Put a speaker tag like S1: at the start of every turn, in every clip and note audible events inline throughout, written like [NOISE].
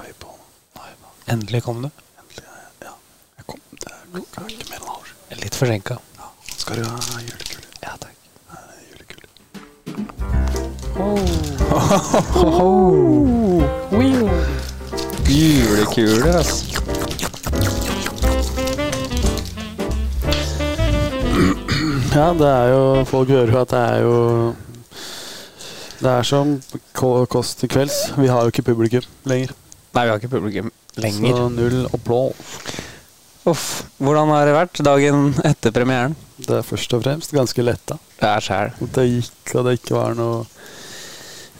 S1: Er vi på Nå er vi på
S2: Endelig kom du.
S1: Endelig. Ja. Jeg kom. Det er klokka er ikke mer enn halv sju.
S2: Litt forsinka.
S1: Ja. Skal du ha julekule?
S2: Ja takk.
S1: Eh, Julekule.
S2: Julekuler, altså.
S1: Ja, det er jo Folk hører jo at det er jo Det er som ko- Kåss til kvelds. Vi har jo ikke publikum lenger.
S2: Nei, vi har ikke publikum lenger.
S1: Så null applaus.
S2: Uff. Hvordan har det vært dagen etter premieren?
S1: Det er først og fremst ganske letta.
S2: Det er sjæl.
S1: At det gikk, og det ikke var noe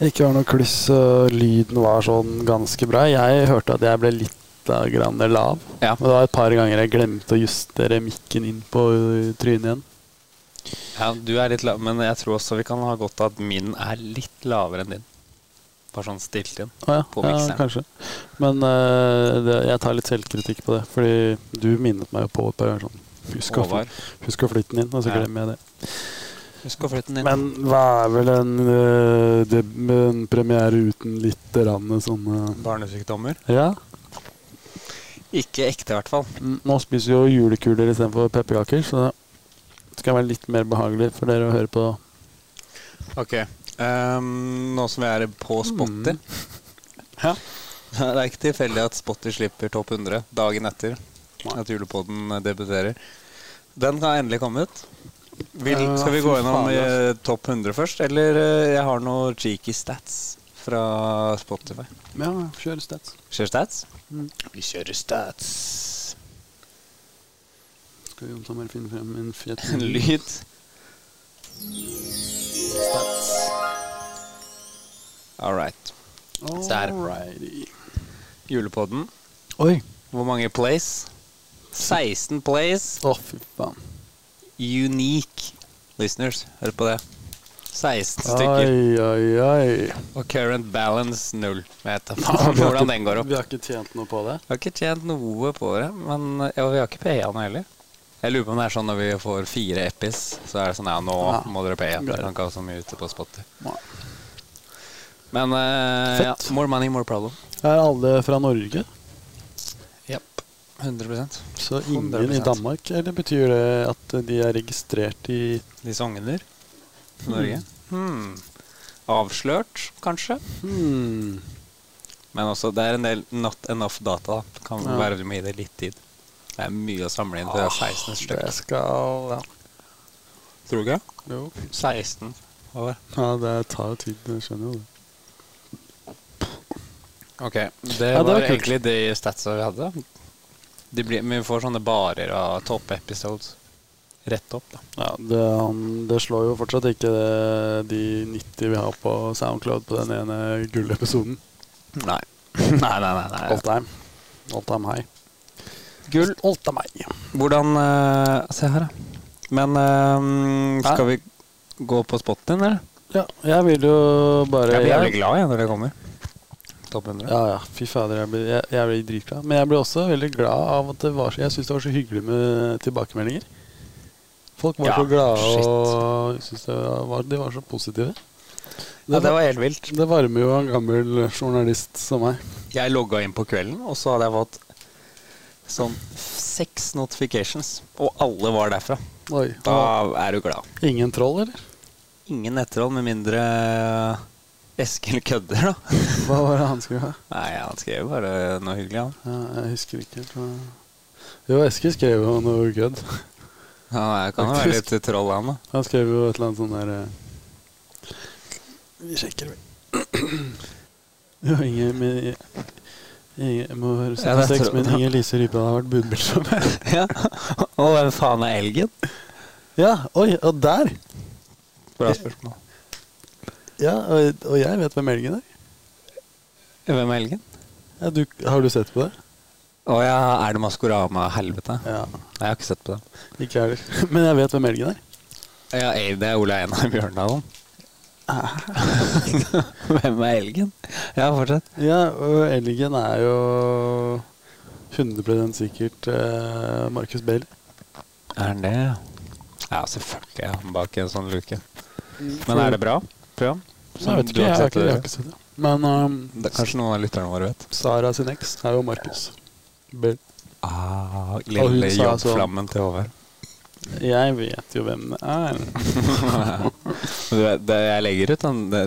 S1: ikke var noe kluss, og lyden var sånn ganske bra. Jeg hørte at jeg ble litt av grann lav.
S2: Ja.
S1: Og det var et par ganger jeg glemte å justere mikken inn på ø, trynet igjen.
S2: ja, du er litt lav, men jeg tror også vi kan ha godt av at min er litt lavere enn din. Bare sånn stilt inn.
S1: Å ja,
S2: På
S1: ja,
S2: mikseren.
S1: kanskje. Men ø, det, jeg tar litt selvkritikk på det, fordi du minnet meg jo på et par ganger sånn Husk å, fly-
S2: Håvard,
S1: husk å flytte den inn, og så
S2: Ja.
S1: glemmer jeg det.
S2: Husk å flytte den inn.
S1: Men hva er vel en, ø, deb- en premiere uten litt sånn, eh? rann sånne
S2: Barnesykdommer?
S1: Ja?
S2: Ikke ekte, i hvert fall.
S1: Mm, Nå spiser vi jo julekuler istedenfor pepperkaker, så det skal være litt mer behagelig for dere å høre på.
S2: Ok. ehm, nå som vi er på Spotter
S1: Ja.
S2: Mm. [LAUGHS] Det er ikke tilfeldig at Spotter slipper topp 100 dagen etter
S1: Nei.
S2: at julepodden debuterer. Den kan endelig komme ut. Vil,
S1: Eh,
S2: skal vi
S1: fy
S2: gå gjennom
S1: faen,
S2: eh, topp 100 først, eller eh, jeg har noen cheeky stats fra Spotify?
S1: Ja, kjør stats.
S2: Kjører stats?
S1: Mm.
S2: Vi kjører stats.
S1: Skal Jon Tommer finne frem en fet
S2: [LAUGHS] En lyd. Stats. All right. Der.
S1: Alrighty.
S2: Julepodden.
S1: Oi.
S2: Hvor mange plays? 16 plays.
S1: Å, fy faen.
S2: Unique listeners. Hør på det. 16 stykker.
S1: Oi, oi, oi.
S2: Og current balance null. Vet da
S1: [LAUGHS] Ja,
S2: faen
S1: vi har
S2: hvordan
S1: ikke-
S2: den går opp.
S1: Vi har ikke tjent noe på det.
S2: Vi har ikke tjent noe på det, men ja, vi har ikke paya noe heller. Jeg lurer på om det er sånn når vi får fire epis, så er det sånn ja, nå
S1: Ja.
S2: må dere paye.
S1: Greit.
S2: Dere kan ikke ha så mye ute på spottet.
S1: Nei.
S2: Men eh, ja,
S1: Fett.
S2: more money, more problem.
S1: Er alle fra Norge?
S2: Jepp. 100
S1: Så ingen
S2: 100%.
S1: i Danmark? Eller betyr det at de er registrert i
S2: De som angrer. Norge. Hmm. Avslørt, kanskje?
S1: hmm.
S2: Men også, det er en del not enough data. da. Det kan
S1: Ja.
S2: være du må gi det litt tid. Det er mye å samle inn til det er 16
S1: Det
S2: stykker.
S1: skal ja.
S2: Tror du ikke?
S1: Jo.
S2: 16. Over.
S1: Ja, det tar jo tid. Jeg skjønner jo det.
S2: Ok, det
S1: Ja, det var
S2: var,
S1: kult.
S2: egentlig de statsa vi hadde. De blir, vi får sånne barer av topp episodes. Rett opp, da.
S1: Ja, det, han, det slår jo fortsatt ikke det, de 90 vi har på Soundcloud på den ene gullepisoden.
S2: Nei. [LAUGHS] nei, nei, nei. nei.
S1: All time. All time high.
S2: Gull.
S1: All time high.
S2: Hvordan eh, Se her, da. Men eh,
S1: Hæ?
S2: skal vi gå på spotten, eller?
S1: Ja, jeg vil jo bare
S2: Jeg blir jævlig
S1: jeg-
S2: glad jeg, når det kommer. Topp 100.
S1: Ja, ja. Fy fader, jeg blir, jeg, jeg blir dritglad. Men jeg blir også veldig glad av at det var så Jeg syns det var så hyggelig med tilbakemeldinger. Folk var
S2: Ja,
S1: så glade
S2: shit.
S1: og synes det var, de var så positive.
S2: Ja, det var helt vilt.
S1: det varmer jo en gammel journalist som meg.
S2: Jeg logga inn på kvelden, og så hadde jeg fått sånn seks notifications. Og alle var derfra.
S1: Oi.
S2: Da er du glad.
S1: Ingen troll, eller?
S2: Ingen etterhold, med mindre eh, Eskil kødder, da. [LAUGHS]
S1: Hva var det han skulle ha?
S2: Nei, han skrev bare noe hyggelig, han.
S1: Ja, jeg husker ikke helt hva Jo, Eskil skrev jo noe kødd.
S2: Han er- kan jo være litt troll, han, da.
S1: Han skrev jo et eller annet sånn der eh, Vi sjekker, vi. [CLEARS THROAT] jo, Inger, men, Inger jeg må høre
S2: Ja, det
S1: 76,
S2: tror-
S1: men Inger Lise Rypdal har vært
S2: [LAUGHS]
S1: budbilsom. [LAUGHS]
S2: Ja. [LAUGHS] Og hvem faen er elgen?
S1: ja, oi, og der!
S2: Bra spørsmål.
S1: Ja, og, og jeg vet hvem elgen er.
S2: Hvem er elgen?
S1: Ja, du, har du sett på det?
S2: Å ja, er det Maskorama-helvete?
S1: Ja.
S2: Nei, Jeg har ikke sett på det.
S1: Ikke jeg heller. [LAUGHS] Men jeg vet hvem elgen er.
S2: Ja, ei, det er Ole Einar Bjørndalen. [LAUGHS] Hvem er elgen? Ja, fortsett.
S1: Ah. Ja, og elgen er jo 100 sikkert eh, Marcus Bailey.
S2: Er den det? Ja, selvfølgelig
S1: Mm.
S2: er han bak en sånn luke. Men er det bra program?
S1: Jeg vet ikke, jeg har ikke, jeg har ikke sett det. Men um,
S2: Det er kanskje noen av lytterne våre vet.
S1: Sara sin eks er jo Markus. Bell.
S2: Ah,
S1: Og hun
S2: lille
S1: sa sånn-
S2: jobbflammen til Håvard.
S1: [LAUGHS] Jeg vet jo hvem det er.
S2: Du vet, det, jeg legger ut den det,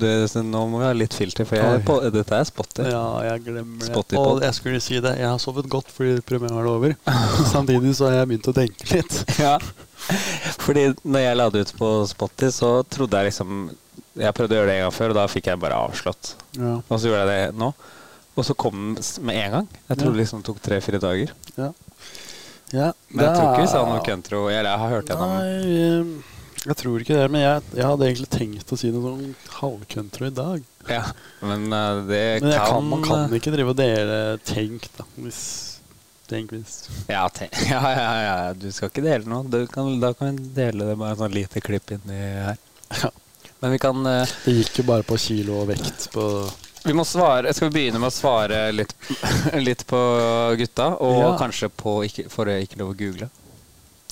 S2: det, så Nå må vi ha litt filter, for jeg,
S1: Oi.
S2: på, dette er spotty.
S1: Ja, jeg glemmer det.
S2: Spotty
S1: Og
S2: pod.
S1: jeg skulle si det, jeg har sovet godt fordi premieren er
S2: [LAUGHS]
S1: over. Samtidig så har jeg begynt å tenke litt.
S2: Ja. Fordi når jeg la det ut på Spotty, så trodde jeg liksom Jeg prøvde å gjøre det en gang før, og da fikk jeg bare avslått.
S1: Ja,
S2: Og så gjorde jeg det nå. Og så kom den s- med en gang. Jeg tror
S1: Ja.
S2: det liksom tok tre-fire dager.
S1: ja. ja
S2: Men jeg tror ikke vi sa
S1: da-
S2: noe country. Eller jeg har hørt gjennom.
S1: Nei, eh, jeg tror ikke det. Men jeg, jeg hadde egentlig tenkt å si noe sånn halvcountry i dag.
S2: Ja. Men eh, det eh,
S1: Men jeg kan,
S2: kan,
S1: man kan ikke drive og dele tenk, da. Hvis, tenk hvis.
S2: Ja, te- [LAUGHS] ja, ja, ja, ja, du skal ikke dele noe. Du kan, da kan vi dele det med en sånn lite klipp inni her.
S1: Ja.
S2: Men vi kan eh,
S1: Det gikk jo bare på kilo og vekt på
S2: Vi må svare, Skal vi begynne med å svare litt, [LAUGHS] litt på gutta? Og
S1: Ja.
S2: kanskje på ikke, for å ikke lov å google.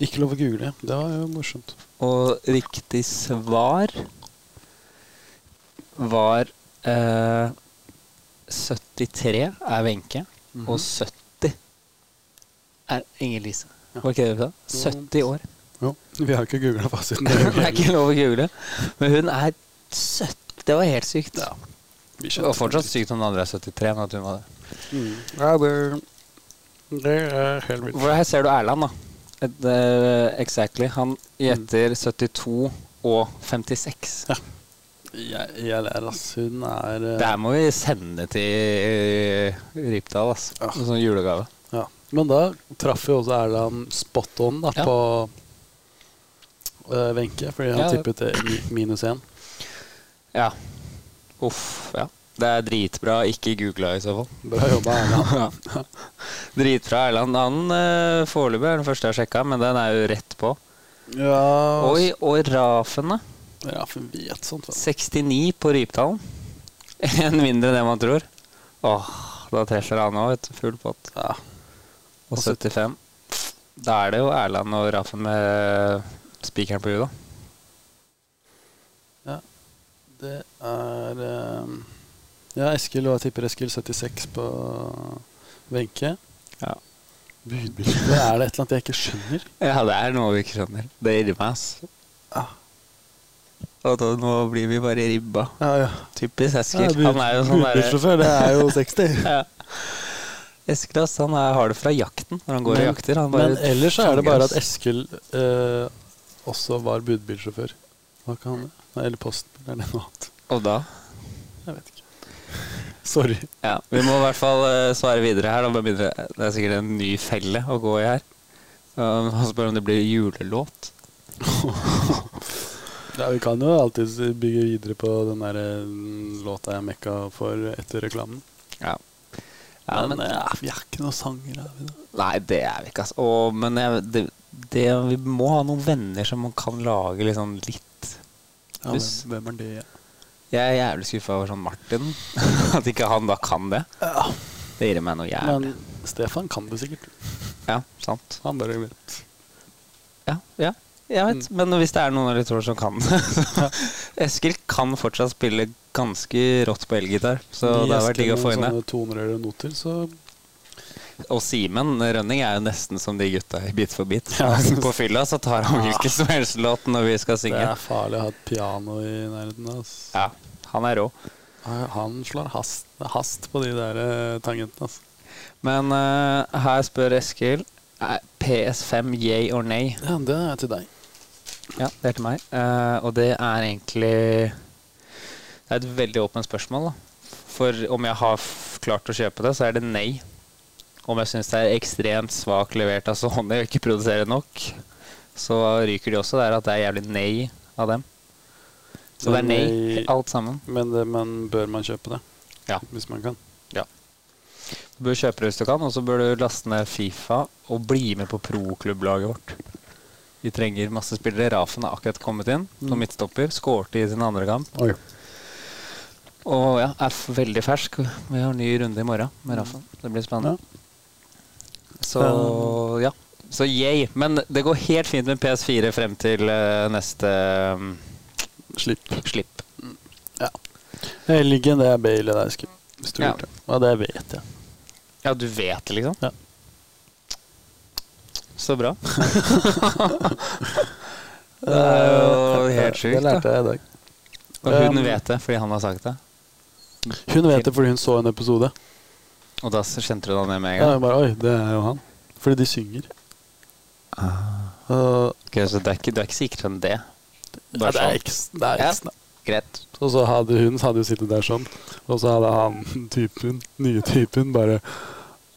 S1: Ikke lov å google. Det var jo morsomt.
S2: Og riktig svar var eh, 73 er Wenche, og 70 er Inger-Lise.
S1: Ja.
S2: Var ikke det vi sa? 70 år. [LAUGHS]
S1: Jo, vi har jo ikke googla fasiten.
S2: Det er ikke lov å google. Men hun er 70. Det var helt sykt.
S1: Vi
S2: Det
S1: skjønner.
S2: var fortsatt sykt om den andre er 73. Men at hun var det.
S1: Mm. Ja, det, det er helt vilt.
S2: For her ser du Erland, da. Et, eh, exactly. Han gjetter 72 og 56.
S1: Jeg, jeg ler, ass. Hun er eh,
S2: Det her må vi sende til eh, Ripdal, ass.
S1: Ja.
S2: En sånn julegave.
S1: ja. Men da traff jo også Erland spot on da,
S2: Ja.
S1: på eh, Wenche, fordi han
S2: Ja, det-
S1: tippet det i minus én.
S2: Ja. Uff, ja. Det er dritbra. Ikke googla i så fall.
S1: Bra jobba, Erland.
S2: [LAUGHS] Dritbra Erland. Han eh, foreløpig er den første jeg sjekka, men den er jo rett på.
S1: Ja,
S2: Oi, og Rafen, da.
S1: Ja, for vi vet sånt. vet
S2: 69 på Rypdalen. [LAUGHS] En mindre enn det man tror. Åh, da treffer han òg, vet du. Full pott.
S1: du. Ja.
S2: Og 75. Da er det jo Erland og Raffen med spikeren på huet, da.
S1: Ja. Det er eh, Ja, Eskil og jeg tipper Eskil 76 på Wenche.
S2: Ja.
S1: Budbildet er det et eller annet jeg ikke skjønner.
S2: ja, det er noe vi ikke skjønner. Det irrer meg, ass.
S1: Ja.
S2: Og da, nå blir vi bare ribba.
S1: Ja, ja.
S2: Typisk Eskil.
S1: Ja, bud-
S2: han er jo sånn derre
S1: budbilsjåfør, det er jo
S2: [LAUGHS]
S1: 60.
S2: ja. Eskil, ass, han er, har det fra jakten når han går og
S1: Men-
S2: jakter. Han bare
S1: Men ellers så er det
S2: fanger
S1: bare
S2: oss.
S1: at Eskil eh, også var budbilsjåfør. Hva kan han det? Nei, Eller postbil, eller noe annet.
S2: Og da?
S1: Jeg vet ikke. [LAUGHS] Sorry.
S2: Ja, Vi må i hvert fall eh, svare videre her. Da, med mindre, det er sikkert en ny felle å gå i her. Um, Han spør om det blir julelåt.
S1: Ja, vi kan jo alltids bygge videre på den der eh, låta jeg mekka for etter reklamen.
S2: Ja. Ja, men,
S1: eh, vi er ikke noen sanger, er vi da?
S2: nei, det er vi ikke, altså. Å, men jeg, det, det, vi må ha noen venner som man kan lage liksom litt
S1: Ja,
S2: Hvis-
S1: hvem- hvem er det?
S2: Jeg er jævlig skuffa over sånn Martin. [LAUGHS] At ikke han da kan det.
S1: Ja.
S2: Det gir meg noe jævlig.
S1: Men Stefan kan det sikkert.
S2: ja, sant.
S1: Han bare vet.
S2: Ja, ja, jeg vet.
S1: Mm.
S2: Men hvis det er noen av de to som kan [LAUGHS] det så- Eskil kan fortsatt spille ganske rått på elgitar, så
S1: Gi
S2: det har vært
S1: Eskil
S2: digg å få inn det.
S1: noen Sånne toner eller noter, så
S2: Og Simen Rønning er jo nesten som de gutta i Bit for bit.
S1: Ja.
S2: [LAUGHS]
S1: Ah.
S2: På fylla så tar han hvilken som helst låt når vi skal
S1: det
S2: synge.
S1: er farlig å ha et piano i nærheten. ass.
S2: Ja, han er rå.
S1: Han- Han slår hast, hast på de der eh, tangentene. ass.
S2: Men eh, her spør Eskil eh, er PS5 yay or nay?
S1: Ja, det er til deg.
S2: Ja, det er til meg. Eh, og det er egentlig Det er et veldig åpent spørsmål. da. For om jeg har f klart å kjøpe det, så er det nei. Om jeg syns det er ekstremt svakt levert av Sony og ikke produserer nok, så ryker de også. Det er at det er jævlig nei av dem. Så det er nei, alt sammen.
S1: Men, det, men bør man kjøpe det?
S2: Ja.
S1: Hvis man kan.
S2: Du bør kjøpe det hvis du kan, og så bør du laste ned Fifa og bli med på pro-klubblaget vårt. Vi trenger masse spillere. Rafen har akkurat kommet inn som
S1: Mm.
S2: midtstopper. Skårte i sin andre kamp. Og ja, er f- veldig fersk. Vi har ny runde i morgen med Raffen.
S1: Mm.
S2: Det blir spennende. Så ja. Så yay. Men det går helt fint med PS4 frem til eh, neste mm,
S1: Slipp.
S2: slipp.
S1: Ja. Helgen, det er Bale og Deiske. Hvis du
S2: Ja.
S1: gjorde det. Ja, det vet jeg.
S2: Ja, du vet det, liksom?
S1: Ja.
S2: Så
S1: [LAUGHS]
S2: bra. [LAUGHS] det er jo helt
S1: Eh, Det
S2: sjukt, da.
S1: lærte jeg i dag.
S2: Og hun
S1: Um,
S2: vet det fordi han har sagt det.
S1: Hun vet det fordi hun så en episode.
S2: Og da s- kjente du han det med en
S1: Ja.
S2: gang?
S1: jeg bare, Oi, det er jo han. Fordi de synger. Og-
S2: Ok, så du er ikke, du er ikke sikker på det?
S1: ja, det er eksen. Det er
S2: Ja.
S1: eksen.
S2: Greit.
S1: Og så hadde hun så hadde hun sittet der sånn, og så hadde han [LAUGHS] typen, nye typen bare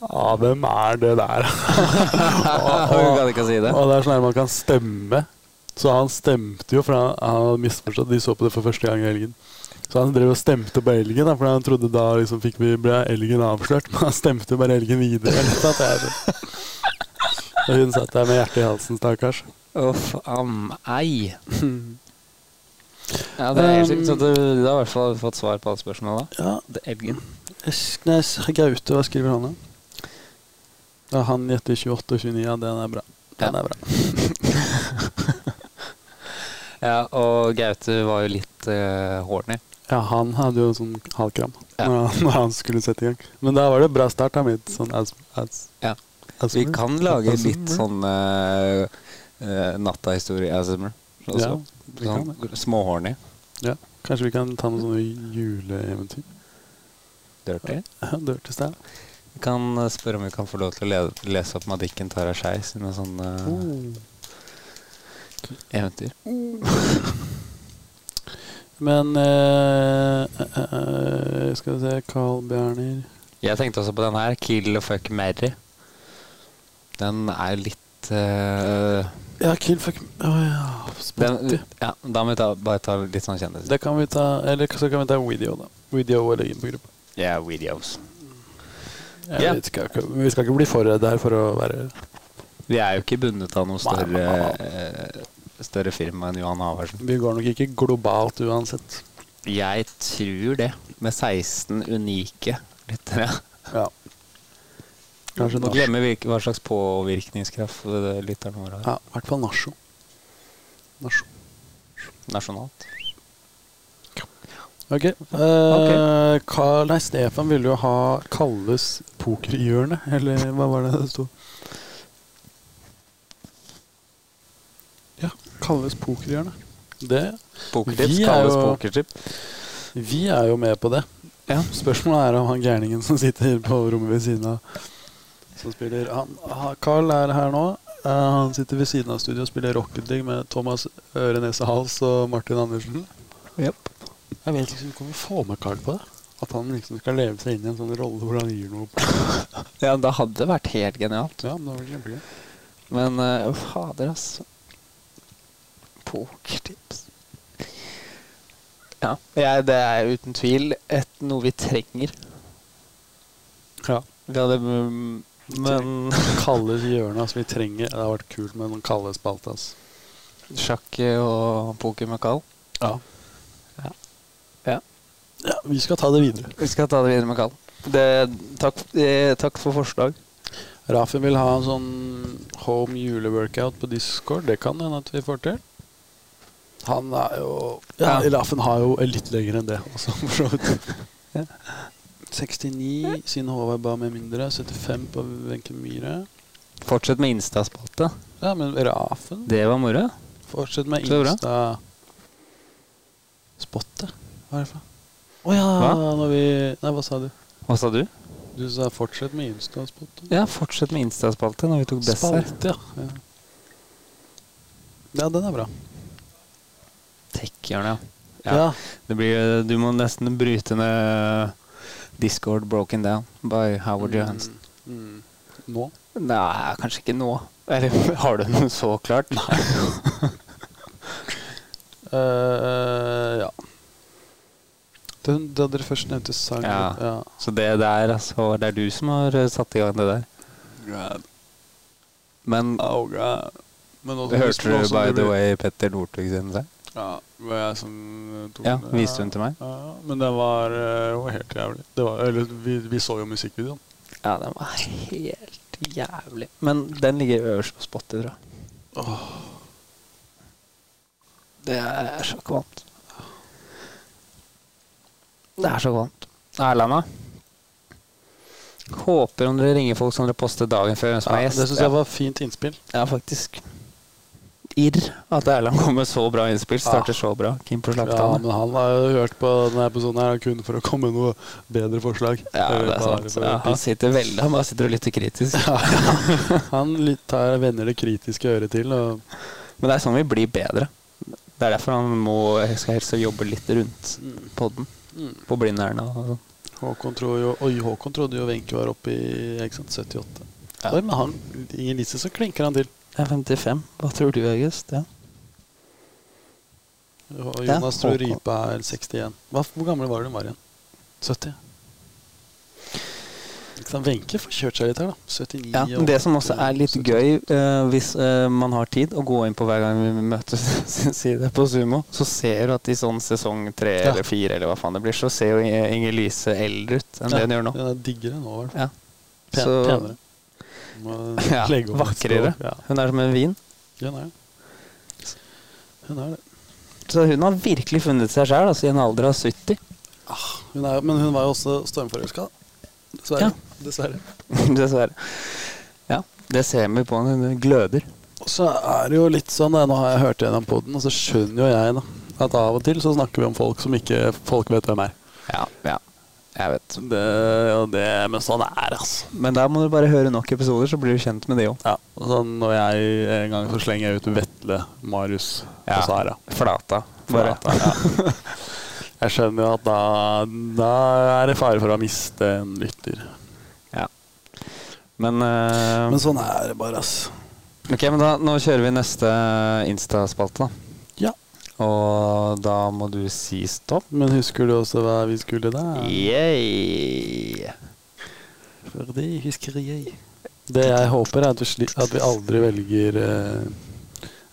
S1: Ja, hvem er det der? [LAUGHS]
S2: Ah, hun kan ikke si det.
S1: Og det er sånn her man kan stemme. Så han stemte jo, for han, han hadde misforstått. De så på det for første gang i helgen. Så han drev og stemte på elgen, da, for han trodde da liksom fikk vi ble elgen avslørt. [LAUGHS] Men han stemte jo bare elgen videre. eller noe sånt. Det er så- Og hun satt der med hjertet i halsen, stakkars.
S2: Uff am ei. Ja, det er helt
S1: Um,
S2: sykt. Så du, du har i hvert fall fått svar på alle spørsmåla.
S1: Ja,
S2: Elgen.
S1: Esknes Gaute, hva skriver han da? Ja, han gjetter 28 og 29, ja, den er bra. Den
S2: Ja.
S1: er bra.
S2: Ja, og Gaute var jo litt uh, horny.
S1: Ja, han hadde jo sånn halvkram
S2: Ja.
S1: når, han, når han skulle sette i gang. Men da var det bra start, da, mitt sånn as, as,
S2: Ja.
S1: as-
S2: Vi kan lage litt sånn uh, nattahistorie Asmer.
S1: Ja,
S2: Også.
S1: vi kan
S2: sånn småhorny.
S1: Ja. Kanskje vi kan ta noen sånne juleeventyr? [LAUGHS]
S2: Dirty.
S1: Ja, Dør til stær.
S2: Vi kan eh, spørre om vi kan få lov til å le- lese opp Madikken Tara Skei sine sånne
S1: Oh.
S2: eh, eventyr.
S1: Men eh, eh, eh, Skal vi se Carl Bjerner
S2: Jeg tenkte også på den her, Kill og fuck Mary. Den er litt eh,
S1: Ja, Kill Fuck Å ja.
S2: den,
S1: Spotty.
S2: ja, Da må vi ta, bare ta litt sånn kjendis.
S1: Det kan vi ta Eller så kan vi ta Video, da. Video og legge inn på gruppa.
S2: Ja, videos.
S1: Jeg
S2: Ja.
S1: vet ikke, vi skal ikke bli for redde her for å være
S2: Vi er jo ikke bundet av noe
S1: Nei,
S2: større,
S1: nei,
S2: eh, større firma enn Johan Havarsen.
S1: Vi går nok ikke globalt uansett.
S2: Jeg tror det. Med 16 unike lyttere.
S1: Ja. Kanskje
S2: Må
S1: norsk.
S2: glemme hvilke- hva slags påvirkningskraft eh, lytterne våre har.
S1: Ja, i hvert fall nasjo. Nasjo.
S2: Nasjonalt.
S1: Ok. eh, Karl, nei, Stefan ville jo ha Kalles pokerhjørne, eller hva var det det sto? Ja, Kalles pokerhjørne. Det
S2: Pokertips
S1: Vi er
S2: kalles
S1: jo-
S2: pokertips.
S1: Vi er jo med på det.
S2: Ja.
S1: Spørsmålet er om han gærningen som sitter på rommet ved siden av Som spiller han, ha- Carl er her nå. Eh, han sitter ved siden av studio og spiller Rocket League med Thomas Øre Nese Hals og Martin Andersen. Jeg vet liksom ikke om vi får med Carl på det. At han liksom skal leve seg inn i en sånn rolle hvor han gir noe opp.
S2: Ja, da hadde det vært helt genialt.
S1: Ja, men det var kjempegøy.
S2: Men eh, fader, altså. Pokertips. Ja, jeg, det er uten tvil et, noe vi trenger.
S1: Ja.
S2: Vi hadde mm, Men
S1: Kalles hjørne, altså. Vi trenger Det har vært kult med noen kalde spalte, altså.
S2: sjakk og poker med Carl.
S1: Ja.
S2: Ja.
S1: ja. Vi skal ta det videre.
S2: Vi skal ta det videre med Carl. Det, takk, eh, takk for forslag.
S1: Rafi vil ha en sånn home juleworkout på Discord. Det kan hende at vi får til. Han er jo Ja,
S2: Ja.
S1: Rafen har jo litt lenger enn det også, [LAUGHS] for så vidt. 69 siden Håvard ba med mindre. 75 på Wenche Myhre.
S2: Fortsett med Insta-spalte.
S1: Ja, men Rafen
S2: Det var moro.
S1: Fortsett med
S2: Så bra.
S1: Insta Spottet? Hva er det for noe? Å ja,
S2: Hva?
S1: når vi Nei, hva sa du?
S2: Hva sa du?
S1: Du sa fortsett med Insta-spottet.
S2: Ja, fortsett med Insta-spalte når vi tok dessert.
S1: Spalte, ja. ja. Ja, den er bra.
S2: Tech-hjørnet, ja.
S1: Ja.
S2: ja. Det blir, eh, du må nesten bryte ned eh, Discord broken down by Howard Johansen.
S1: Mm. Nå?
S2: Nei, kanskje ikke nå. Eller [LAUGHS] har du noe så klart? Nei.
S1: Eh, ja. Den, da dere først nevnte sang
S2: Ja.
S1: ja.
S2: [LAUGHS] Så det der, altså. Det er du som har eh, satt i gang det der. Men
S1: Oh, God. Men også,
S2: hørte du by the way Petter Northug sin sang?
S1: Ja, det var jeg som eh, tok
S2: Ja,
S1: den.
S2: viste hun til meg?
S1: Ja, men den var eh, jo helt jævlig. Det var, eller, vi, vi så jo musikkvideoen.
S2: Ja, den var helt jævlig. Men den ligger øverst på spottet, tror jeg. Det er så ikke vant. Det er så kvalmt. Erlanda. Håper om dere ringer folk som dere poster dagen før hvem som er
S1: Ja,
S2: gjest.
S1: det syns jeg var fint innspill.
S2: Ja, faktisk. Irr at Erland kom med så bra innspill. Starter
S1: Ja.
S2: så bra. Kim på
S1: Ja,
S2: slaktane.
S1: men han har jo hørt på denne episoden her kun for å komme med noe bedre forslag.
S2: Ja, det er sant. Ja, han sitter veldig Han bare sitter og lytter kritisk.
S1: Han litt tar vender det kritiske øret til. Og,
S2: Men det er sånn vi blir bedre. Det er derfor han må jeg skal helst jobbe litt rundt
S1: Mm,
S2: podden. På Blindern og sånn.
S1: Håkon, tror jo, oi, Håkon trodde jo Wenche var oppe i ikke sant, 78.
S2: Ja.
S1: Oi, men han, Inger Lise, så klinker han til.
S2: Jeg er 55. Hva tror du, August? Ja.
S1: Og
S2: Ja,
S1: Jonas tror
S2: Håkon.
S1: Rype er 61. Hva, hvor gamle var hun var igjen? 70? Ikke sant, Wenche får kjørt seg litt her, da. 79
S2: Ja, men
S1: og
S2: det som også
S1: 80,
S2: er litt
S1: 70.
S2: gøy, eh, hvis eh, man har tid, å gå inn på hver gang vi møtes [LAUGHS] sin side på Sumo, så ser du at i sånn sesong tre
S1: Ja.
S2: eller fire, eller hva faen det blir, så ser jo I- Inger Lise eldre ut enn det hun gjør nå.
S1: Ja, Den er diggere nå, i hvert fall.
S2: Ja.
S1: Pen,
S2: Så-
S1: penere. Må
S2: [LAUGHS] Ja,
S1: legge opp litt
S2: vakrere.
S1: språk. Ja,
S2: Hun er som en vin.
S1: hun er det. Hun er det.
S2: Så hun har virkelig funnet seg sjæl, altså i en alder av 70.
S1: Hun er, men hun var jo også stormforelska. Dessverre.
S2: Ja.
S1: Dessverre.
S2: [LAUGHS] Dessverre. Ja, det ser vi på henne. Hun gløder.
S1: Og så er det jo litt sånn, da, nå har jeg hørt gjennom poden, og så skjønner jo jeg da, at av og til så snakker vi om folk som ikke folk vet hvem er.
S2: Ja, ja. Jeg vet.
S1: Det, og det, men sånn er det, altså.
S2: Men da må du bare høre nok episoder, så blir du kjent med det òg.
S1: Ja, og sånn når jeg en gang så slenger jeg ut Vetle, Marius
S2: Ja.
S1: og Sara.
S2: Flata. Bare.
S1: Bare. Jeg skjønner jo at da, da er det fare for å miste en lytter.
S2: Ja. Men, eh,
S1: Men sånn er det bare, ass.
S2: Ok, men da, Nå kjører vi neste Insta-spalte. da.
S1: Ja.
S2: Og da må du si stopp.
S1: Men husker du også hva vi skulle da?
S2: Yay.
S1: For det husker jeg. Det jeg håper, er at vi, sli at vi aldri velger eh,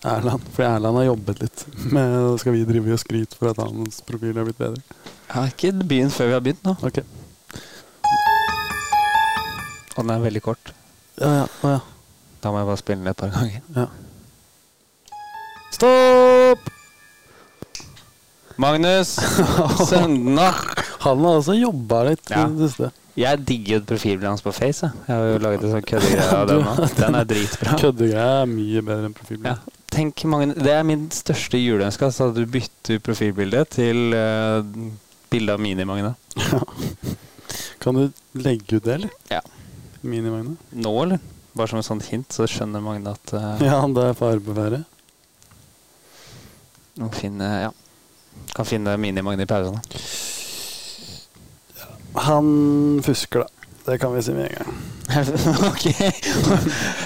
S1: Erland. For Erland har jobbet litt. [LAUGHS] Men skal vi drive og skryte for at hans profil har blitt bedre?
S2: Jeg har ikke begynt før vi har begynt. nå.
S1: Ok.
S2: Og den er veldig kort.
S1: Ja, ja. Å, ja.
S2: Da må jeg bare spille den et par ganger.
S1: ja.
S2: Stopp! Magnus Søndna.
S1: Han har også jobba litt
S2: Ja.
S1: i det siste.
S2: Jeg digger jo profilbildet hans på Face. Jeg, jeg har jo laget en sånn køddegreie av den nå. Den er dritbra.
S1: Køddegreier er mye bedre enn profilbilde.
S2: Ja. Tenk mange, det er min største juleønske, altså at du bytter profilbildet til uh, bilde av Mini-Magne.
S1: Kan du legge ut det, eller?
S2: Ja.
S1: Minimagne?
S2: Nå, eller? Bare som et sånt hint, så skjønner Magne at eh,
S1: Ja, det er fare på ferde.
S2: hun finner, ja. kan finne Mini-Magne i pausene.
S1: Han fusker, da. Det kan vi si med en gang.
S2: [LAUGHS] ok,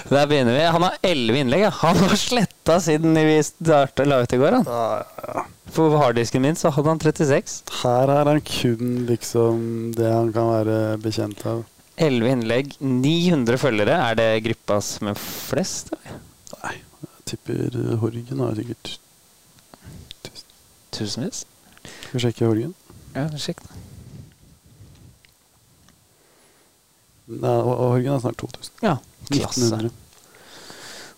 S2: der begynner vi. Han har elleve innlegg. ja. Han var sletta siden vi starta la ut i går. Han. På harddisken min så hadde han 36.
S1: Her er han kun liksom det han kan være bekjent av.
S2: 11 innlegg, 900 følgere. Er det gruppa som er flest? Eller?
S1: Nei, jeg tipper eh, Horgen har sikkert
S2: Tusenvis?
S1: Skal vi sjekke Horgen?
S2: Ja, sjekk da.
S1: Nei, og- og Horgen er snart 2000.
S2: Ja, klasse.
S1: 1900.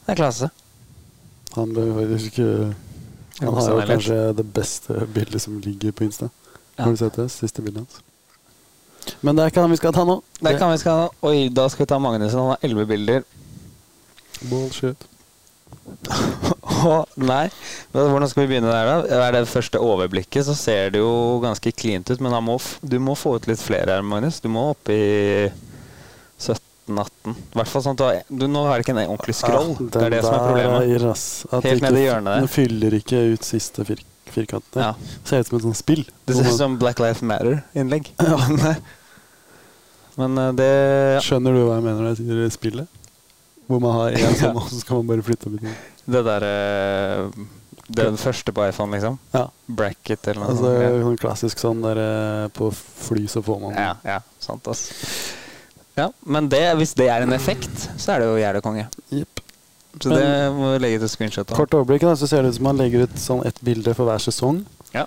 S2: Det er klasse.
S1: Han bør faktisk ikke Han har
S2: Koser
S1: jo
S2: meg litt.
S1: kanskje det beste bildet som ligger på Insta.
S2: Ja.
S1: Har du sett det? Siste bildet hans. Men det er ikke han vi skal ta nå.
S2: Der kan vi skal, oi, da skal vi ta Magnussen. Han har elleve bilder.
S1: Bullshit.
S2: Å, nei. Men Hvordan skal vi begynne der, da? Er det første overblikket, så ser det jo ganske cleant ut. Men han må, f- du må få ut litt flere her, Magnus. Du må opp i 17-18. I hvert fall sånn at du, har, du nå har ikke en ordentlig scroll.
S1: Ja,
S2: det er det som er
S1: Ah, den der
S2: problemet.
S1: gir ass. At
S2: Helt
S1: ikke-
S2: nede i hjørnet der.
S1: Den fyller ikke ut siste fir firkanten.
S2: Ja.
S1: Ser ut som et sånt spill.
S2: Det
S1: Hvor
S2: ser
S1: man-
S2: ut som Black Life Matter-innlegg. [LAUGHS] eh, Men eh, det
S1: Skjønner du hva jeg mener når jeg sier spillet? Hvor
S2: [LAUGHS]
S1: man har én sånn, og så skal man bare flytte opp i den.
S2: Det derre Den første på iPhone, liksom.
S1: Ja.
S2: Bracket eller noe
S1: Altså,
S2: sånt.
S1: sånn klassisk sånn der eh, På fly så får man
S2: Ja, ja, sant ass. Ja, men det, hvis det er en effekt, så er det jo jævla konge.
S1: Jepp.
S2: Så
S1: Men-
S2: det må vi legge til screenshot av.
S1: Kort overblikk, da, så ser det ut som man legger ut sånn ett bilde for hver sesong.
S2: Ja.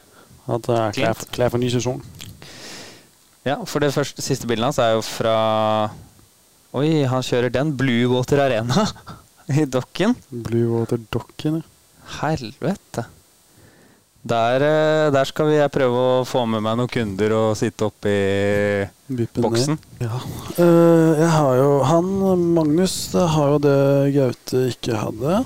S1: At det er
S2: Klint.
S1: klær, klær for ny sesong.
S2: ja, for det første, siste bildet hans er jo fra Oi, han kjører den. Blue Water Arena [LAUGHS] i dokken.
S1: Blue Water Dokken, ja.
S2: Helvete. Der, eh, der skal jeg prøve å få med meg noen kunder og sitte oppi
S1: Vippen ned.
S2: boksen.
S1: Ja. Eh, jeg har jo han Magnus eh, har jo det Gaute ikke hadde.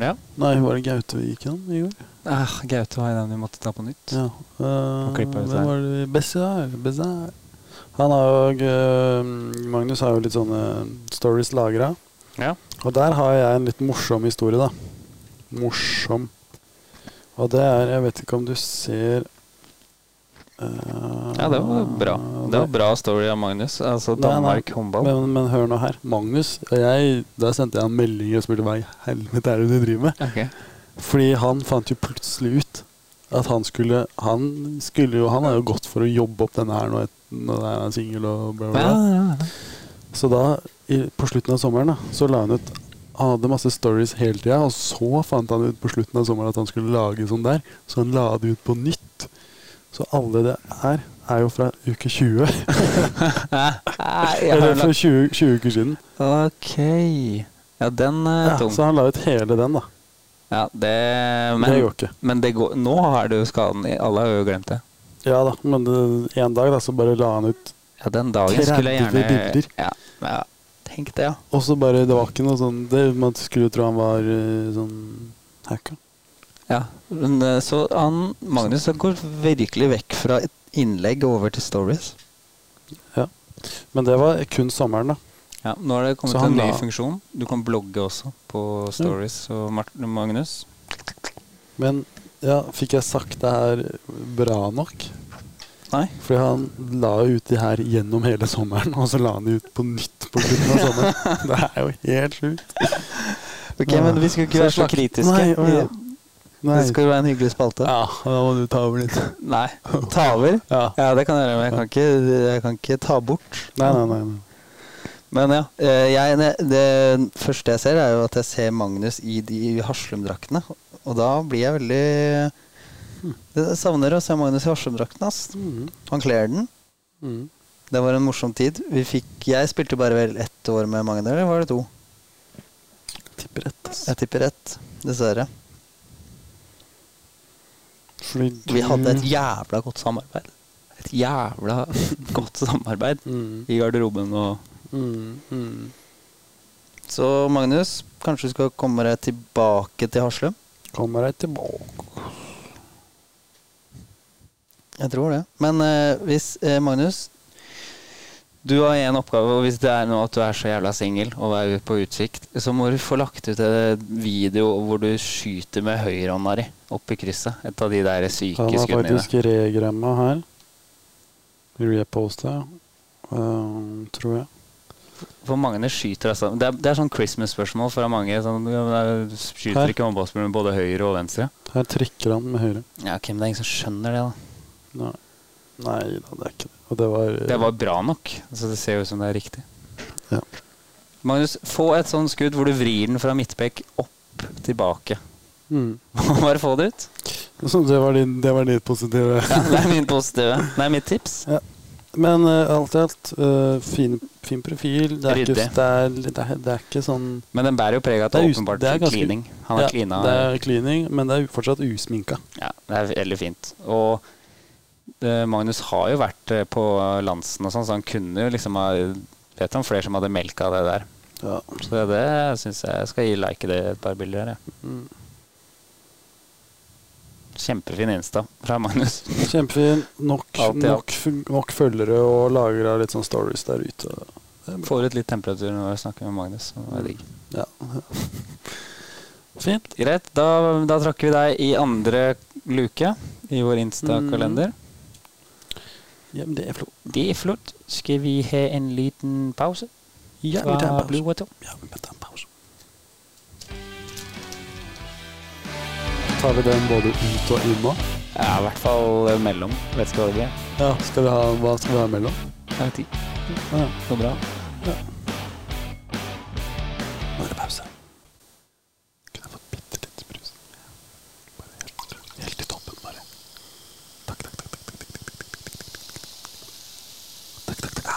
S2: Ja.
S1: Nei, var det Gaute vi gikk gjennom i går?
S2: Ah, Gaute var jo den vi måtte ta på nytt.
S1: Ja. Uh,
S2: Og klippet ut
S1: hvem
S2: her.
S1: var det? Bessar. Bessar. Han har jo eh, Magnus har jo litt sånne stories lagra.
S2: Ja.
S1: Og der har jeg en litt morsom historie, da. Morsom. Og det er Jeg vet ikke om du ser eh,
S2: ja, det var bra. Det var bra story av Magnus. Altså
S1: Nei, nei.
S2: Danmark håndball.
S1: Men, men hør nå her. Magnus og jeg Der sendte jeg en melding og spurte hva i helvete er det du driver med?
S2: Ok.
S1: Fordi han fant jo plutselig ut at han skulle Han skulle jo Han er jo godt for å jobbe opp denne her nå et- når han er singel og bla, bla,
S2: Ja,
S1: bla.
S2: ja, ja.
S1: Så da, i, på slutten av sommeren, da, så la han ut Han hadde masse stories hele tida, og så fant han ut på slutten av sommeren at han skulle lage sånn der. Så han la det ut på nytt. Så alle det her er jo fra uke 20.
S2: Nei, jeg har
S1: Eller
S2: la-
S1: fra 20, 20 uker siden.
S2: Ok. Ja, den er
S1: Ja,
S2: tung.
S1: så han la ut hele den, da.
S2: Ja, det
S1: det
S2: Men,
S1: går ikke.
S2: men det går, nå er det jo skaden i Alle har jo glemt det.
S1: Ja da, men det- en dag da, så bare la han ut
S2: Ja, den dagen skulle jeg
S1: 30
S2: gjerne
S1: bilder.
S2: Ja, ja. Tenk det, ja.
S1: Og så bare, det var ikke noe sånn det, Man skulle jo tro han var eh, sånn hacka.
S2: ja. Men, eh, så han Magnus han går virkelig vekk fra et innlegg og over til stories.
S1: Men det var kun sommeren, da.
S2: Ja, Nå har det kommet
S1: Så han
S2: en ny
S1: la-
S2: funksjon. Du kan blogge også på stories. Og Martin og Magnus
S1: Men ja, fikk jeg sagt det her bra nok?
S2: Nei.
S1: Fordi han la jo ut de her gjennom hele sommeren, og så la han de ut på nytt på slutten av [LAUGHS] sommeren. Det er jo helt sjukt.
S2: Ok,
S1: Ja.
S2: Men vi skal ikke være så
S1: slakt-
S2: kritiske.
S1: Nei, å ja. Nei.
S2: Det skal jo være en hyggelig spalte.
S1: Ja, da må du ta over litt.
S2: Nei. Ta over?
S1: Ja.
S2: Ja, det kan jeg gjøre, men jeg kan ikke, jeg kan ikke ta bort.
S1: Nei, nei, nei. nei.
S2: Men ja, eh, jeg, ne- det første jeg ser, er jo at jeg ser Magnus i de Haslum-draktene. Og da blir jeg veldig Jeg savner å se Magnus i Haslum-drakten. ass.
S1: Mhm.
S2: Han kler den.
S1: Mhm.
S2: Det var en morsom tid. Vi fikk, jeg spilte bare vel ett år med Magnus, eller var det to?
S1: Tipper rett, ass.
S2: Jeg tipper ett, dessverre.
S1: Fordi
S2: Vi hadde et
S1: du-
S2: jævla godt samarbeid. Et jævla [LAUGHS] godt samarbeid
S1: Mhm.
S2: i garderoben og
S1: Mhm. Mhm.
S2: Så Magnus, kanskje du skal komme deg tilbake til Haslum?
S1: Kommer deg tilbake.
S2: Jeg tror det. Men eh, hvis eh, Magnus Du har én oppgave, og hvis det er nå at du er så jævla singel og er på utsikt, så må du få lagt ut en video hvor du skyter med høyrehånda di opp i krysset. Et av de der syke
S1: Han har
S2: skuddene dine.
S1: faktisk regramma her. Reposta, um, tror jeg.
S2: For Magne skyter altså Det er, det er sånn Christmas-spørsmål fra mange. Sånn, ja, men jeg
S1: Her.
S2: skyter ikke håndballspillere med både høyre og venstre?
S1: Her trekker han med høyre.
S2: Ja, ok, men det er ingen som skjønner det, da.
S1: Nei. Nei da, det er ikke det. Og det var,
S2: Det var bra nok. Så det ser jo ut som det er riktig.
S1: Ja.
S2: Magnus, få et sånt skudd hvor du vrir den fra midtbekk opp tilbake. [LAUGHS]
S1: Mm.
S2: Bare få det ut.
S1: Så det var din, det var ditt positive
S2: Ja, det er min positive. Det er mitt tips.
S1: Men eh, alt i alt, eh, fin, fin profil. Det er, ikke,
S2: Ryddig.
S1: det, er, det, er, det er ikke sånn
S2: Men den bærer jo preg av at det
S1: Det er
S2: er
S1: us-
S2: åpenbart
S1: det er ganske-
S2: klining. Han er
S1: ja,
S2: klina.
S1: Det er cleaning, men det er fortsatt usminka.
S2: Ja, det er veldig fint. Og eh, Magnus har jo vært eh, på Lansen og sånn, så han kunne jo liksom ha Vet om flere som hadde melka det der.
S1: Ja.
S2: Så det syns jeg jeg skal gi like det et par bilder her, jeg.
S1: Mm.
S2: Kjempefin Insta fra Magnus.
S1: Kjempefin. Nok,
S2: Alt i alt.
S1: nok, fun- nok følgere og lagra litt sånn stories der ute. Det er bra.
S2: Får ut litt temperatur når jeg snakker med Magnus. så Det er digg.
S1: Ja. [LAUGHS] Fint.
S2: Greit, da, da trakk vi deg i andre luke i vår Insta-kalender.
S1: Mm. Ja, men det er flott.
S2: Det er flott. Skal vi ha en liten pause?
S1: Ja,
S2: Fra
S1: vi tar en pause.
S2: Blue Water?
S1: Ja, vi tar en pause. Tar vi den både ut og inn nå?
S2: Ja, i hvert fall eh, mellom. Vet ikke hva det blir.
S1: Ja. Skal vi ha, hva skal vi ha mellom?
S2: Jeg vet ikke.
S1: Ja.
S2: Går bra.
S1: Nå er det pause. Kunne jeg fått bitte litt brus? Bare helt, helt i toppen, bare. Takk, takk, takk. takk, takk, takk, takk, takk, takk, takk, takk. Takk, takk, takk.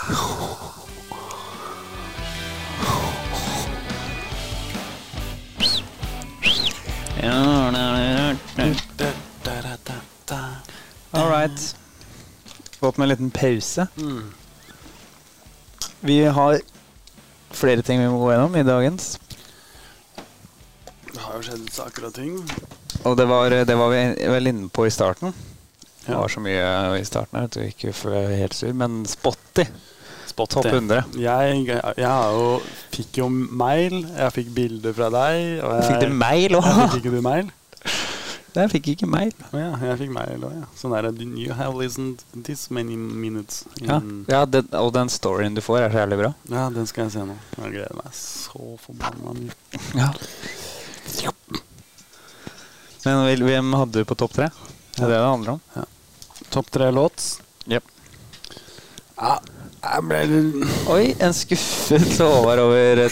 S2: Ja, da, da, da, da.
S1: Da, da, da, da.
S2: tatt med en liten pause.
S1: Hmm.
S2: Vi har flere ting vi må gå gjennom i dagens.
S1: Det har jo skjedd saker og ting.
S2: Og det var, eh, det var vi vel inne på i starten. Det
S1: Ja.
S2: var så mye i starten her at vi ikke ble helt sur. Men Spotty,
S1: Spotty.
S2: topp 100.
S1: Jeg, jeg, har jo, fikk jo mail. Jeg fikk bilder fra deg. Og jeg,
S2: Fikk du mail
S1: Jeg
S2: òg?
S1: fikk ikke du mail?
S2: Der Eh, fikk jeg ikke mail.
S1: Å ja, jeg fikk mail òg, ja. Sånn er det. You have listened this many minutes. in-
S2: Ja, ja den, Og den storyen du får, er så jævlig bra.
S1: Ja, den skal jeg se nå. Jeg gleder meg så forbanna mye.
S2: Men hvil- hvem hadde du på topp tre? Det er det det handler om.
S1: Topp tre låt. Ja, jeg ble litt-
S2: Oi, en skuffelse over over eh,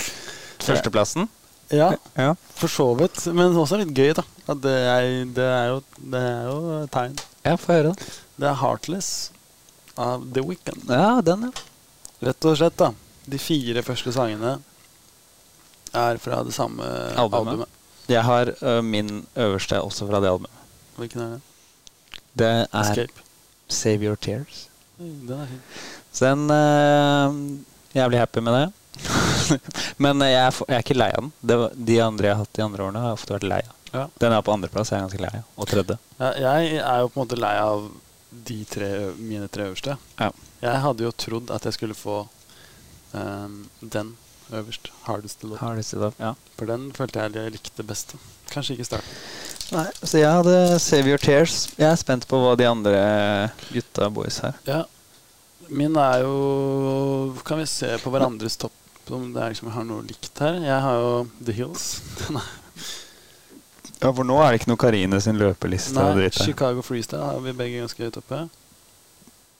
S2: førsteplassen.
S1: Ja,
S2: Ja.
S1: for så vidt. Men også litt gøy, da. At det, er, det, er jo, det er jo et tegn.
S2: ja, få høre, da.
S1: Det er 'Heartless' av The Weeknd.
S2: Ja, den, ja.
S1: Rett og slett, da. De fire første sangene er fra det samme albumet.
S2: Albumet. Jeg har ø, min øverste også fra det albumet.
S1: Hvilken er det?
S2: Det er
S1: Escape.
S2: Save Your Tears.
S1: Oi, Den er fin.
S2: Så den ø, eh, Jævlig happy med det. [LAUGHS] Men jeg er, f- jeg er ikke lei av den. Det, var- de andre jeg har hatt de andre årene, har jeg ofte vært lei av.
S1: Ja.
S2: Den er på andreplass, jeg er ganske lei av. Og tredje.
S1: Ja, jeg er jo på en måte lei av de tre, ø- mine tre øverste.
S2: Ja.
S1: Jeg hadde jo trodd at jeg skulle få ehm, den øverst. Hardeste låt.
S2: Har du sett opp? Ja.
S1: For den følte jeg jeg likte best. da. Kanskje ikke starten.
S2: Nei, så jeg hadde Save Your Tears. Jeg er spent på hva de andre gutta boys her.
S1: Ja. Min er jo Kan vi se på hverandres topp om det er liksom jeg har noe likt her? Jeg har jo The Hills.
S2: Ja, for nå er det ikke noe Karine sin løpeliste og
S1: Nei,
S2: dritt her.
S1: Chicago Freestyle har vi begge ganske høyt oppe.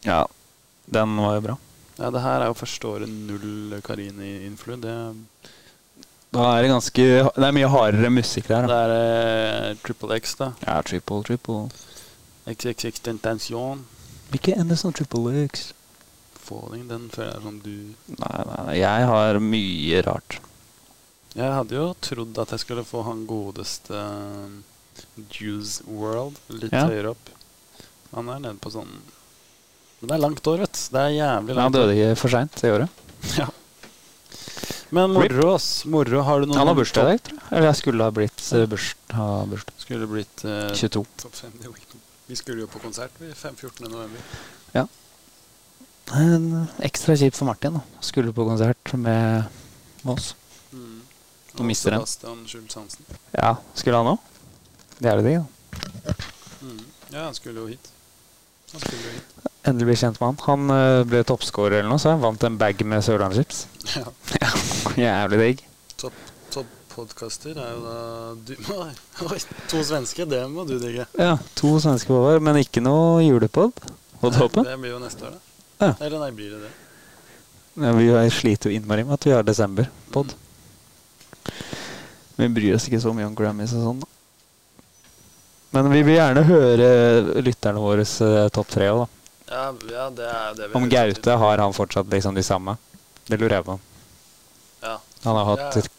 S2: Ja, den var jo bra.
S1: Ja, det her er jo første året null Karini-influ. Det,
S2: Da er det ganske Det er mye hardere musikk der, da.
S1: det er eh, Triple X, da.
S2: Ja, triple, triple.
S1: XXX Tentation.
S2: Ikke ende som triple X.
S1: Falling, den føler jeg er sånn du
S2: Nei, nei, nei, jeg har mye rart.
S1: Jeg hadde jo trodd at jeg skulle få han godeste um, Juice World litt
S2: Ja.
S1: høyere opp. Han er nede på sånn Men det er langt år, vet du. Det er jævlig
S2: Men han
S1: langt.
S2: døde ikke for seint det året.
S1: [LAUGHS] Ja. Men
S2: Rip.
S1: moro, ass. Moro, har du noen
S2: Han har bursdag i dag, tror jeg. Eller jeg skulle ha blitt eh, burs, ha bursdag.
S1: Skulle blitt eh,
S2: 22.
S1: topp fem i Weekend. Vi skulle jo på konsert vi, fem- 14. november.
S2: En ekstra kjipt for Martin, da. Skulle på konsert med oss.
S1: Mm.
S2: Nå mister den.
S1: Sebastian Schultz Hansen.
S2: Ja, skulle han òg? Det er det digg, da.
S1: Mm. Ja, han skulle jo hit. Han skulle jo hit. [LAUGHS]
S2: Endelig bli kjent med han. Han eh, ble toppscorer eller noe, så han vant en bag med Sørlandschips.
S1: Ja.
S2: [LAUGHS] Jævlig digg.
S1: Topp top podkaster er jo da du [LAUGHS] Nei, oi, to svenske, det må du digge.
S2: Ja, to svenske påvar, men ikke noe julepod på toppen.
S1: Det blir jo neste år, da.
S2: Ja.
S1: Eller nei, blir det det?
S2: Ja, vi har- sliter jo innmari med at vi har desember-pod. Vi bryr oss ikke så mye om Grammys og sånn. da. Men vi vil gjerne høre lytterne våre eh, topp tre òg, da.
S1: Ja, ja, det er det vi
S2: Om
S1: hører
S2: Gaute
S1: til.
S2: har han fortsatt liksom de samme. Det lurer jeg på.
S1: Ja.
S2: Han har
S1: Ja,
S2: hatt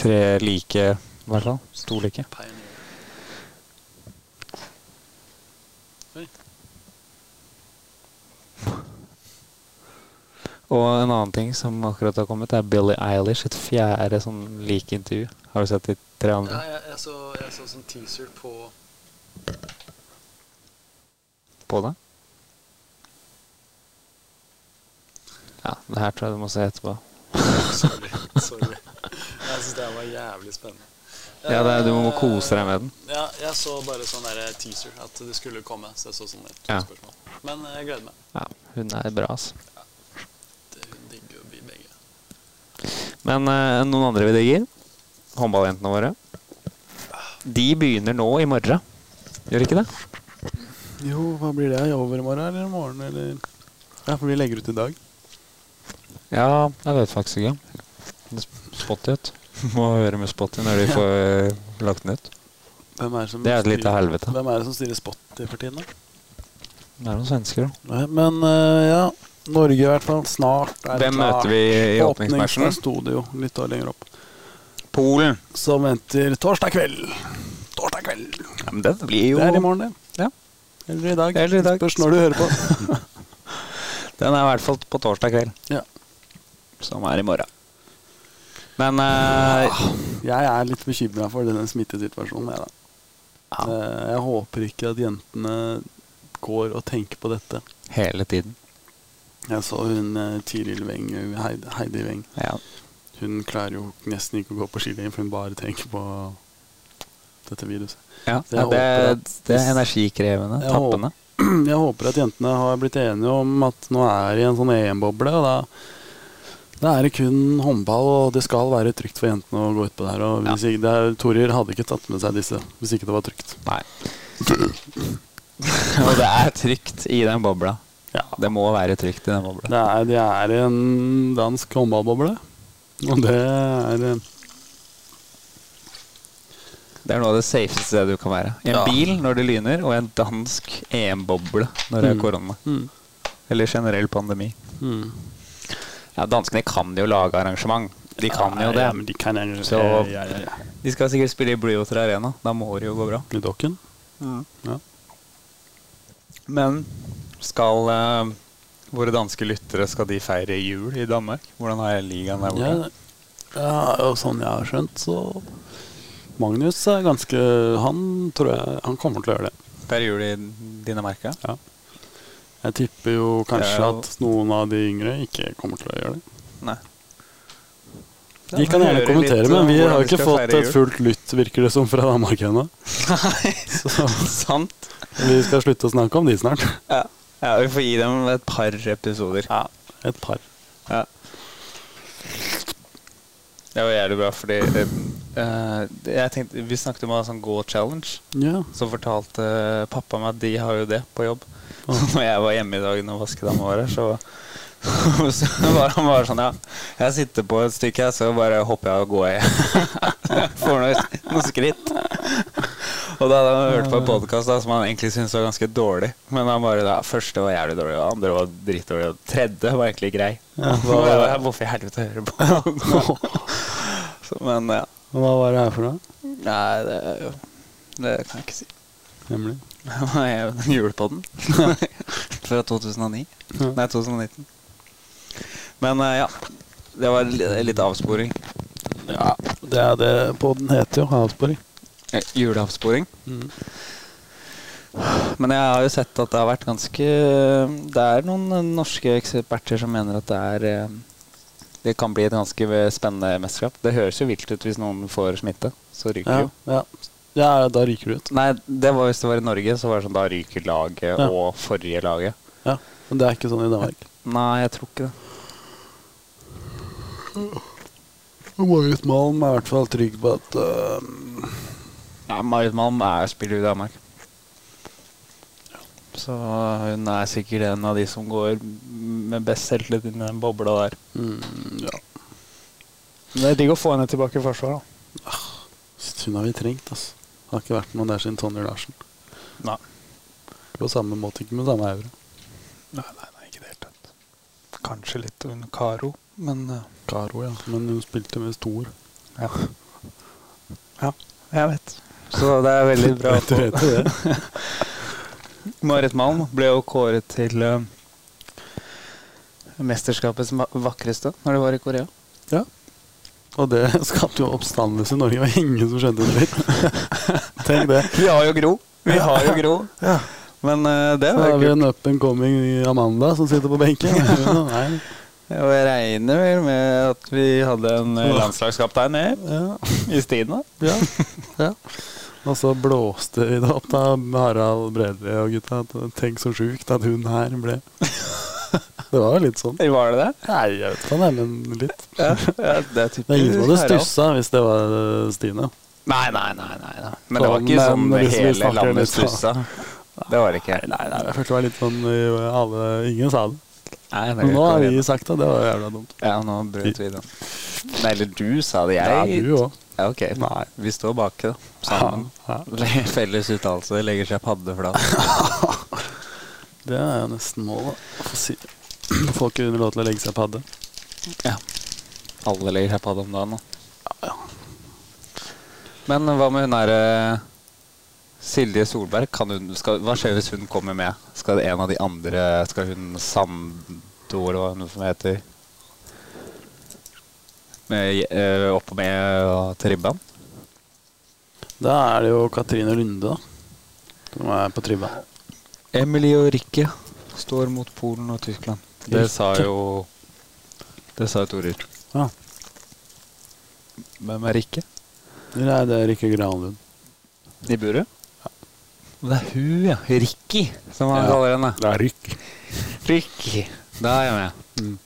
S2: tre like, i hvert fall. To like.
S1: Pioneer. Oi.
S2: Og en annen ting som akkurat har kommet, er Billie Eilish. Et fjerde sånn like intervju. Har du sett de tre
S1: Ja,
S2: andre?
S1: jeg, jeg, så, jeg så sånn teaser på
S2: På det? Ja, det her tror jeg du må se etterpå.
S1: Sorry. sorry. Jeg syns det her var jævlig spennende. Eh,
S2: Ja, det er, Du må kose deg med den.
S1: Ja, jeg så bare sånn der teaser, at det skulle komme. Så jeg så sånn et
S2: Ja.
S1: spørsmål. Men eh, jeg gleder meg.
S2: Ja, Hun er bra, altså.
S1: Det digger jo vi begge.
S2: Men eh, noen andre vi digger? Håndballjentene våre. De begynner nå i morgen. Gjør ikke det?
S1: Jo, hva blir det? I overmorgen eller i morgen? Eller? Ja, for vi legger ut i dag.
S2: Ja, jeg vet faktisk ikke. Det er Spotty, [LAUGHS] vet du. Må høre med Spotty når de får eh, lagt den ut.
S1: Hvem er det som
S2: Det er et lite
S1: styrer-
S2: helvete.
S1: Hvem er det som styrer Spotty for tiden, da?
S2: Det er noen svensker, da.
S1: Nei, Men eh, ja, Norge i hvert fall. Snart er det
S2: Hvem møter vi i
S1: På
S2: åpningsmatchen?
S1: Åpningsstudio litt år lenger opp.
S2: Polen.
S1: Som venter torsdag kveld. Torsdag kveld.
S2: Ja, men den blir jo
S1: Det er i morgen, det.
S2: Ja.
S1: Eller i dag.
S2: Eller i dag.
S1: Spørs når du hører på. [LAUGHS]
S2: Den er i hvert fall på torsdag kveld,
S1: Ja.
S2: som er i morgen. Men eh,
S1: Jeg er litt bekymra for denne smittesituasjonen. Jeg, da. Eh, jeg håper ikke at jentene går og tenker på dette.
S2: hele tiden.
S1: Jeg så hun eh, Tiril Weng, eh, Heid- Heidi Weng.
S2: Ja.
S1: Hun klarer jo nesten ikke å gå på skileggen, for hun bare tenker på dette viruset. [CLEARS THROAT]
S2: Ja,
S1: Så jeg
S2: ja, det,
S1: håper
S2: er,
S1: at
S2: det er
S1: hvis-
S2: energikrevende.
S1: Jeg
S2: Tappende.
S1: Jeg håper at jentene har blitt enige om at nå er de i en sånn EM-boble, og da, da er det kun håndball, og det skal være trygt for jentene å gå utpå der. Og hvis ikke, det er, Torir hadde ikke tatt med seg disse hvis ikke det var trygt.
S2: Nei. [LAUGHS] Og det er trygt i den bobla.
S1: Ja.
S2: Det må være trygt i den bobla.
S1: Det er, det er en dansk håndballboble, og det er eh,
S2: Det er noe av det safeste stedet du kan være. I en
S1: Ja.
S2: bil når det lyner, og i en dansk EM-boble når det
S1: Mm.
S2: er korona.
S1: mm,
S2: Eller generell pandemi.
S1: mm.
S2: Ja, Danskene kan jo lage arrangement. De kan jo det.
S1: Ja, men de kan jo
S2: Så-
S1: ja, ja, ja.
S2: De skal sikkert spille i Bluewater Arena. Da må det jo gå bra.
S1: I dokken?
S2: Mm.
S1: Ja.
S2: Men skal eh, våre danske lyttere skal de feire jul i Danmark? Hvordan er ligaen der
S1: Ja,
S2: borte?
S1: ja, og sånn jeg har skjønt, så Magnus er ganske Han tror jeg Han kommer til å gjøre det.
S2: Det er jul i Dinamarca.
S1: Ja. Jeg tipper jo
S2: Det er
S1: kanskje
S2: jo-
S1: at noen av de yngre ikke kommer til å gjøre det.
S2: Nei.
S1: De kan gjerne kommentere, men vi
S2: eh,
S1: har jo ikke fått et fullt lytt, virker det som, fra Danmark [LAUGHS] ennå. Så
S2: Sant.
S1: vi skal slutte å snakke om de snart.
S2: Ja. ja, vi får gi dem et par episoder. Ja.
S1: Et par.
S2: Det var jævlig bra, fordi eh, eh, jeg tenkte, Vi snakket om å ha sånn go-challenge.
S1: Ja.
S2: Så fortalte eh, pappa meg at de har jo det på jobb.
S1: Ah.
S2: Så når jeg var hjemme i dag når vaskedama var her, så, [LAUGHS] så var han bare sånn Ja, jeg sitter på et stykke, her, så bare hopper jeg og går jeg. [LAUGHS] Får noen, noen skritt. Og da hadde han hørt på en podkast som han egentlig syntes var ganske dårlig. Men han bare da, første var jævlig dårlig, og andre var dritdårlig, og tredje var egentlig grei. [LAUGHS]
S1: Ja,
S2: Og jeg bare, Hvorfor i helvete hører du på? [LAUGHS] Så, men ja.
S1: Hva var det her for noe?
S2: Nei, det, er jo- det kan jeg ikke si.
S1: Hemmelig. [LAUGHS]
S2: Hva er den julepodden? [LAUGHS] Fra 2009.
S1: Ja.
S2: Nei, 2019. Men eh, ja. Det var li- litt avsporing.
S1: Ja, det er det podden heter jo. Avsporing.
S2: Eh, Juleavsporing.
S1: Mm.
S2: Men jeg har jo sett at det har vært ganske Det er noen eh, norske eksperter som mener at det er eh, Det kan bli et ganske ve- spennende mesterskap. Det høres jo vilt ut hvis noen får smitte. Så ryker
S1: Ja,
S2: jo.
S1: ja. ja, da ryker du ut.
S2: Nei, det var hvis det var i Norge, så var det sånn da ryker laget
S1: Ja.
S2: og forrige laget.
S1: Ja, Men det er ikke sånn i Danmark.
S2: Nei, jeg tror ikke det.
S1: Og Marit Malm er i hvert fall trygg på at øh,
S2: Nei, Marit Malm er spiller i Danmark. Så hun er sikkert en av de som går med best selvtillit inn i den bobla der.
S1: mm, Ja,
S2: Men det er digg å få henne tilbake i forsvaret.
S1: hun har vi trengt, altså. Har ikke vært noen der siden Tonje Larsen.
S2: Nei.
S1: På samme måte, ikke med samme euro.
S2: Nei, nei, nei, ikke i det hele tatt. Kanskje litt under Karo, men eh,
S1: Karo, ja. Men hun spilte med stor.
S2: ja. ja. Jeg vet. Så det er veldig [LAUGHS] bra.
S1: Vet du, vet du det?
S2: Marit Malm ble jo kåret til eh, mesterskapets ma- vakreste når det var i Korea.
S1: [LAUGHS] Ja. Og det [LAUGHS] skapte jo oppstandelse i Norge. Det var ingen som skjønte det litt. Tenk det.
S2: Vi har jo Gro. Vi har jo
S1: [LAUGHS]
S2: Gro. Men eh, det
S1: Så
S2: er
S1: har
S2: jo
S1: vi
S2: kult.
S1: en up and coming i Amanda som sitter på benken. Nei.
S2: Og jeg regner vel med at vi hadde en eh, landslagskaptein i,
S1: Ja.
S2: i Stina.
S1: Ja. [LAUGHS] ja. Og så blåste vi det opp da Harald Bredli og gutta. at Tenk så sjukt at hun her ble Det var jo litt sånn.
S2: Var det det?
S1: Nei, jeg vet ikke, nei, men litt.
S2: Ja, [LAUGHS] ja, det er
S1: Det er ingen som hadde
S2: Harald.
S1: stussa hvis det var eh, Stine.
S2: Nei, nei, nei. nei, nei. Men det var
S1: Men
S2: ikke sånn det
S1: hvis vi
S2: hele
S1: snakker litt,
S2: landet
S1: da.
S2: stussa. Det var det ikke. Nei,
S1: Jeg følte det var litt sånn eh, alle, Ingen sa det.
S2: det er
S1: Men nå
S2: ikke
S1: har
S2: det.
S1: vi sagt det. Det var jævla dumt.
S2: Ja, nå brøt vi den. Nei, eller du sa det.
S1: Ja,
S2: Jeg
S1: du òg.
S2: Ja, ok.
S1: Nei.
S2: Vi står bak, da. Sammen. [LAUGHS] Felles uttalelse legger seg paddeflat.
S1: Det er jo nesten målet. å få si- Få folk under lov til å legge seg padde.
S2: Ja. Alle legger seg padde om dagen, da. Men hva med hun derre Silje Solberg, kan hun, skal, hva skjer hvis hun kommer med? Skal en av de andre Skal hun Sand... Metoo, eller hva det heter. Med, eh, opp og med og til ribban.
S1: Da er det jo Katrine Lunde, da. Som er på tribba.
S2: Emily og Rikke står mot Polen og Tyskland. Det sa
S1: Rikke.
S2: jo Det sa jo Torer.
S1: Ja.
S2: Hvem er Rikke?
S1: Eller er det Rikke Granlund?
S2: I buret? Det er hun, ja. Rikki, som han
S1: Ja.
S2: kaller henne.
S1: Det er Rykk.
S2: Rikki. Da er jeg med.
S1: Mm.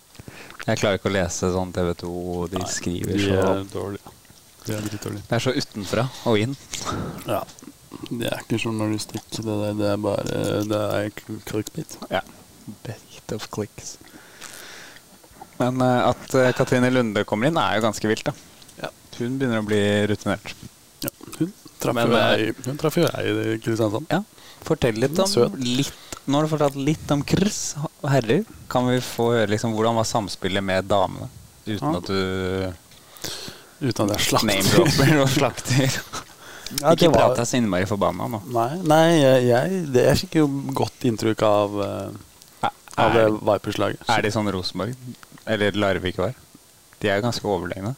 S2: Jeg klarer ikke å lese sånn TV 2. De
S1: Nei,
S2: skriver
S1: De
S2: så
S1: er dårlige. De er drittdårlige.
S2: Det er så utenfra og inn.
S1: Ja. Det er ikke journalistikk, det der. Det er bare Det er k- clickbait.
S2: Bit of clicks. Men eh, at eh, Katrine Lunde kommer inn, er jo ganske vilt, da.
S1: Ja.
S2: Hun begynner å bli rutinert.
S1: Ja. Hun traff
S2: Men,
S1: jo ei Hun traff jo ei i Kristiansand.
S2: Ja. Fortell litt om
S1: Søt.
S2: litt, Nå har du fortalt litt om Krs og herrer. Kan vi få høre liksom hvordan var samspillet med damene? Uten
S1: Ja.
S2: at du
S1: Uten at jeg slakter.
S2: name-dropper og slakter.
S1: Ja, det
S2: ikke
S1: var-
S2: prat deg så innmari forbanna nå.
S1: Nei, nei jeg, jeg, det, jeg fikk jo godt inntrykk av, eh, av det
S2: Er,
S1: Vipers-laget.
S2: er de sånn Rosenborg eller Larvik var? De er jo ganske overlegne.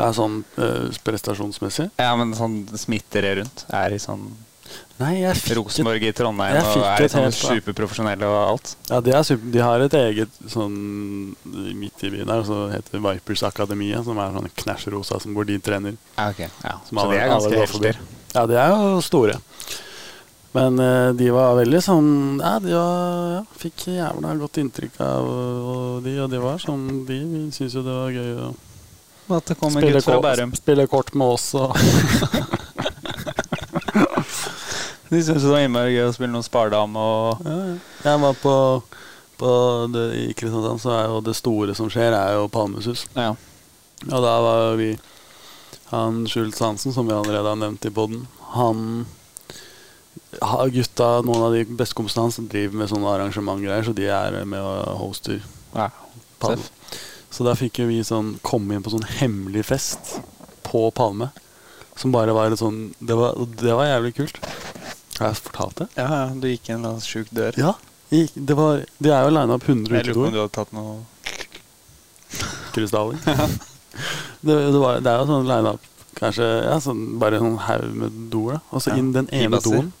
S1: Ja, sånn eh, prestasjonsmessig?
S2: Ja, men sånn smitter det rundt. Er de sånn
S1: Nei, jeg fikk
S2: Rosenborg i Trondheim
S1: Jeg
S2: og
S1: fikk
S2: er de
S1: et
S2: sånn
S1: helt, da.
S2: superprofesjonelle og alt?
S1: Ja, de, er super, de har et eget sånn midt i byen der, som heter Vipers Akademia, som er sånn knæsjrosa som hvor de trener.
S2: Ja, ok. Ja. Så
S1: Som alle-
S2: de er ganske
S1: alle går forbi.
S2: helter.
S1: Ja, de er jo store. Men eh, de var veldig sånn Ja, de var, ja, fikk jævla godt inntrykk av og de, og de var sånn De syntes jo det var gøy å
S2: At det kommer
S1: spille,
S2: gutt fra
S1: ko-
S2: Bærum.
S1: spille kort med
S2: [LAUGHS]
S1: oss og
S2: De syns det var innmari gøy å spille noen spardam og
S1: Ja, ja. Jeg var på, på det, I Kristiansand så er jo det store som skjer, er jo Palmesus.
S2: Ja.
S1: Og da var jo vi Han Schultz Hansen, som vi allerede har nevnt i poden, han ha- Gutta, noen av de bestekompisene hans, driver med sånne arrangementgreier, så de er med og hoster
S2: ja.
S1: Palme.
S2: Tøff.
S1: Så da fikk jo vi sånn komme inn på sånn hemmelig fest på Palme. Som bare var litt sånn Det var, det var jævlig kult. Har jeg fortalt det?
S2: Ja, ja, du gikk inn en sjuk dør.
S1: Ja. i- Det var, de er jo lina opp 100
S2: Jeg lurer på om
S1: utedoer.
S2: du hadde tatt noe
S1: Krystaller. [LAUGHS] det, det, var, det er jo sånn line up Kanskje ja, sånn, bare en sånn haug med doer. da. Og så
S2: Ja,
S1: inn den
S2: i
S1: ene
S2: basser.
S1: doen.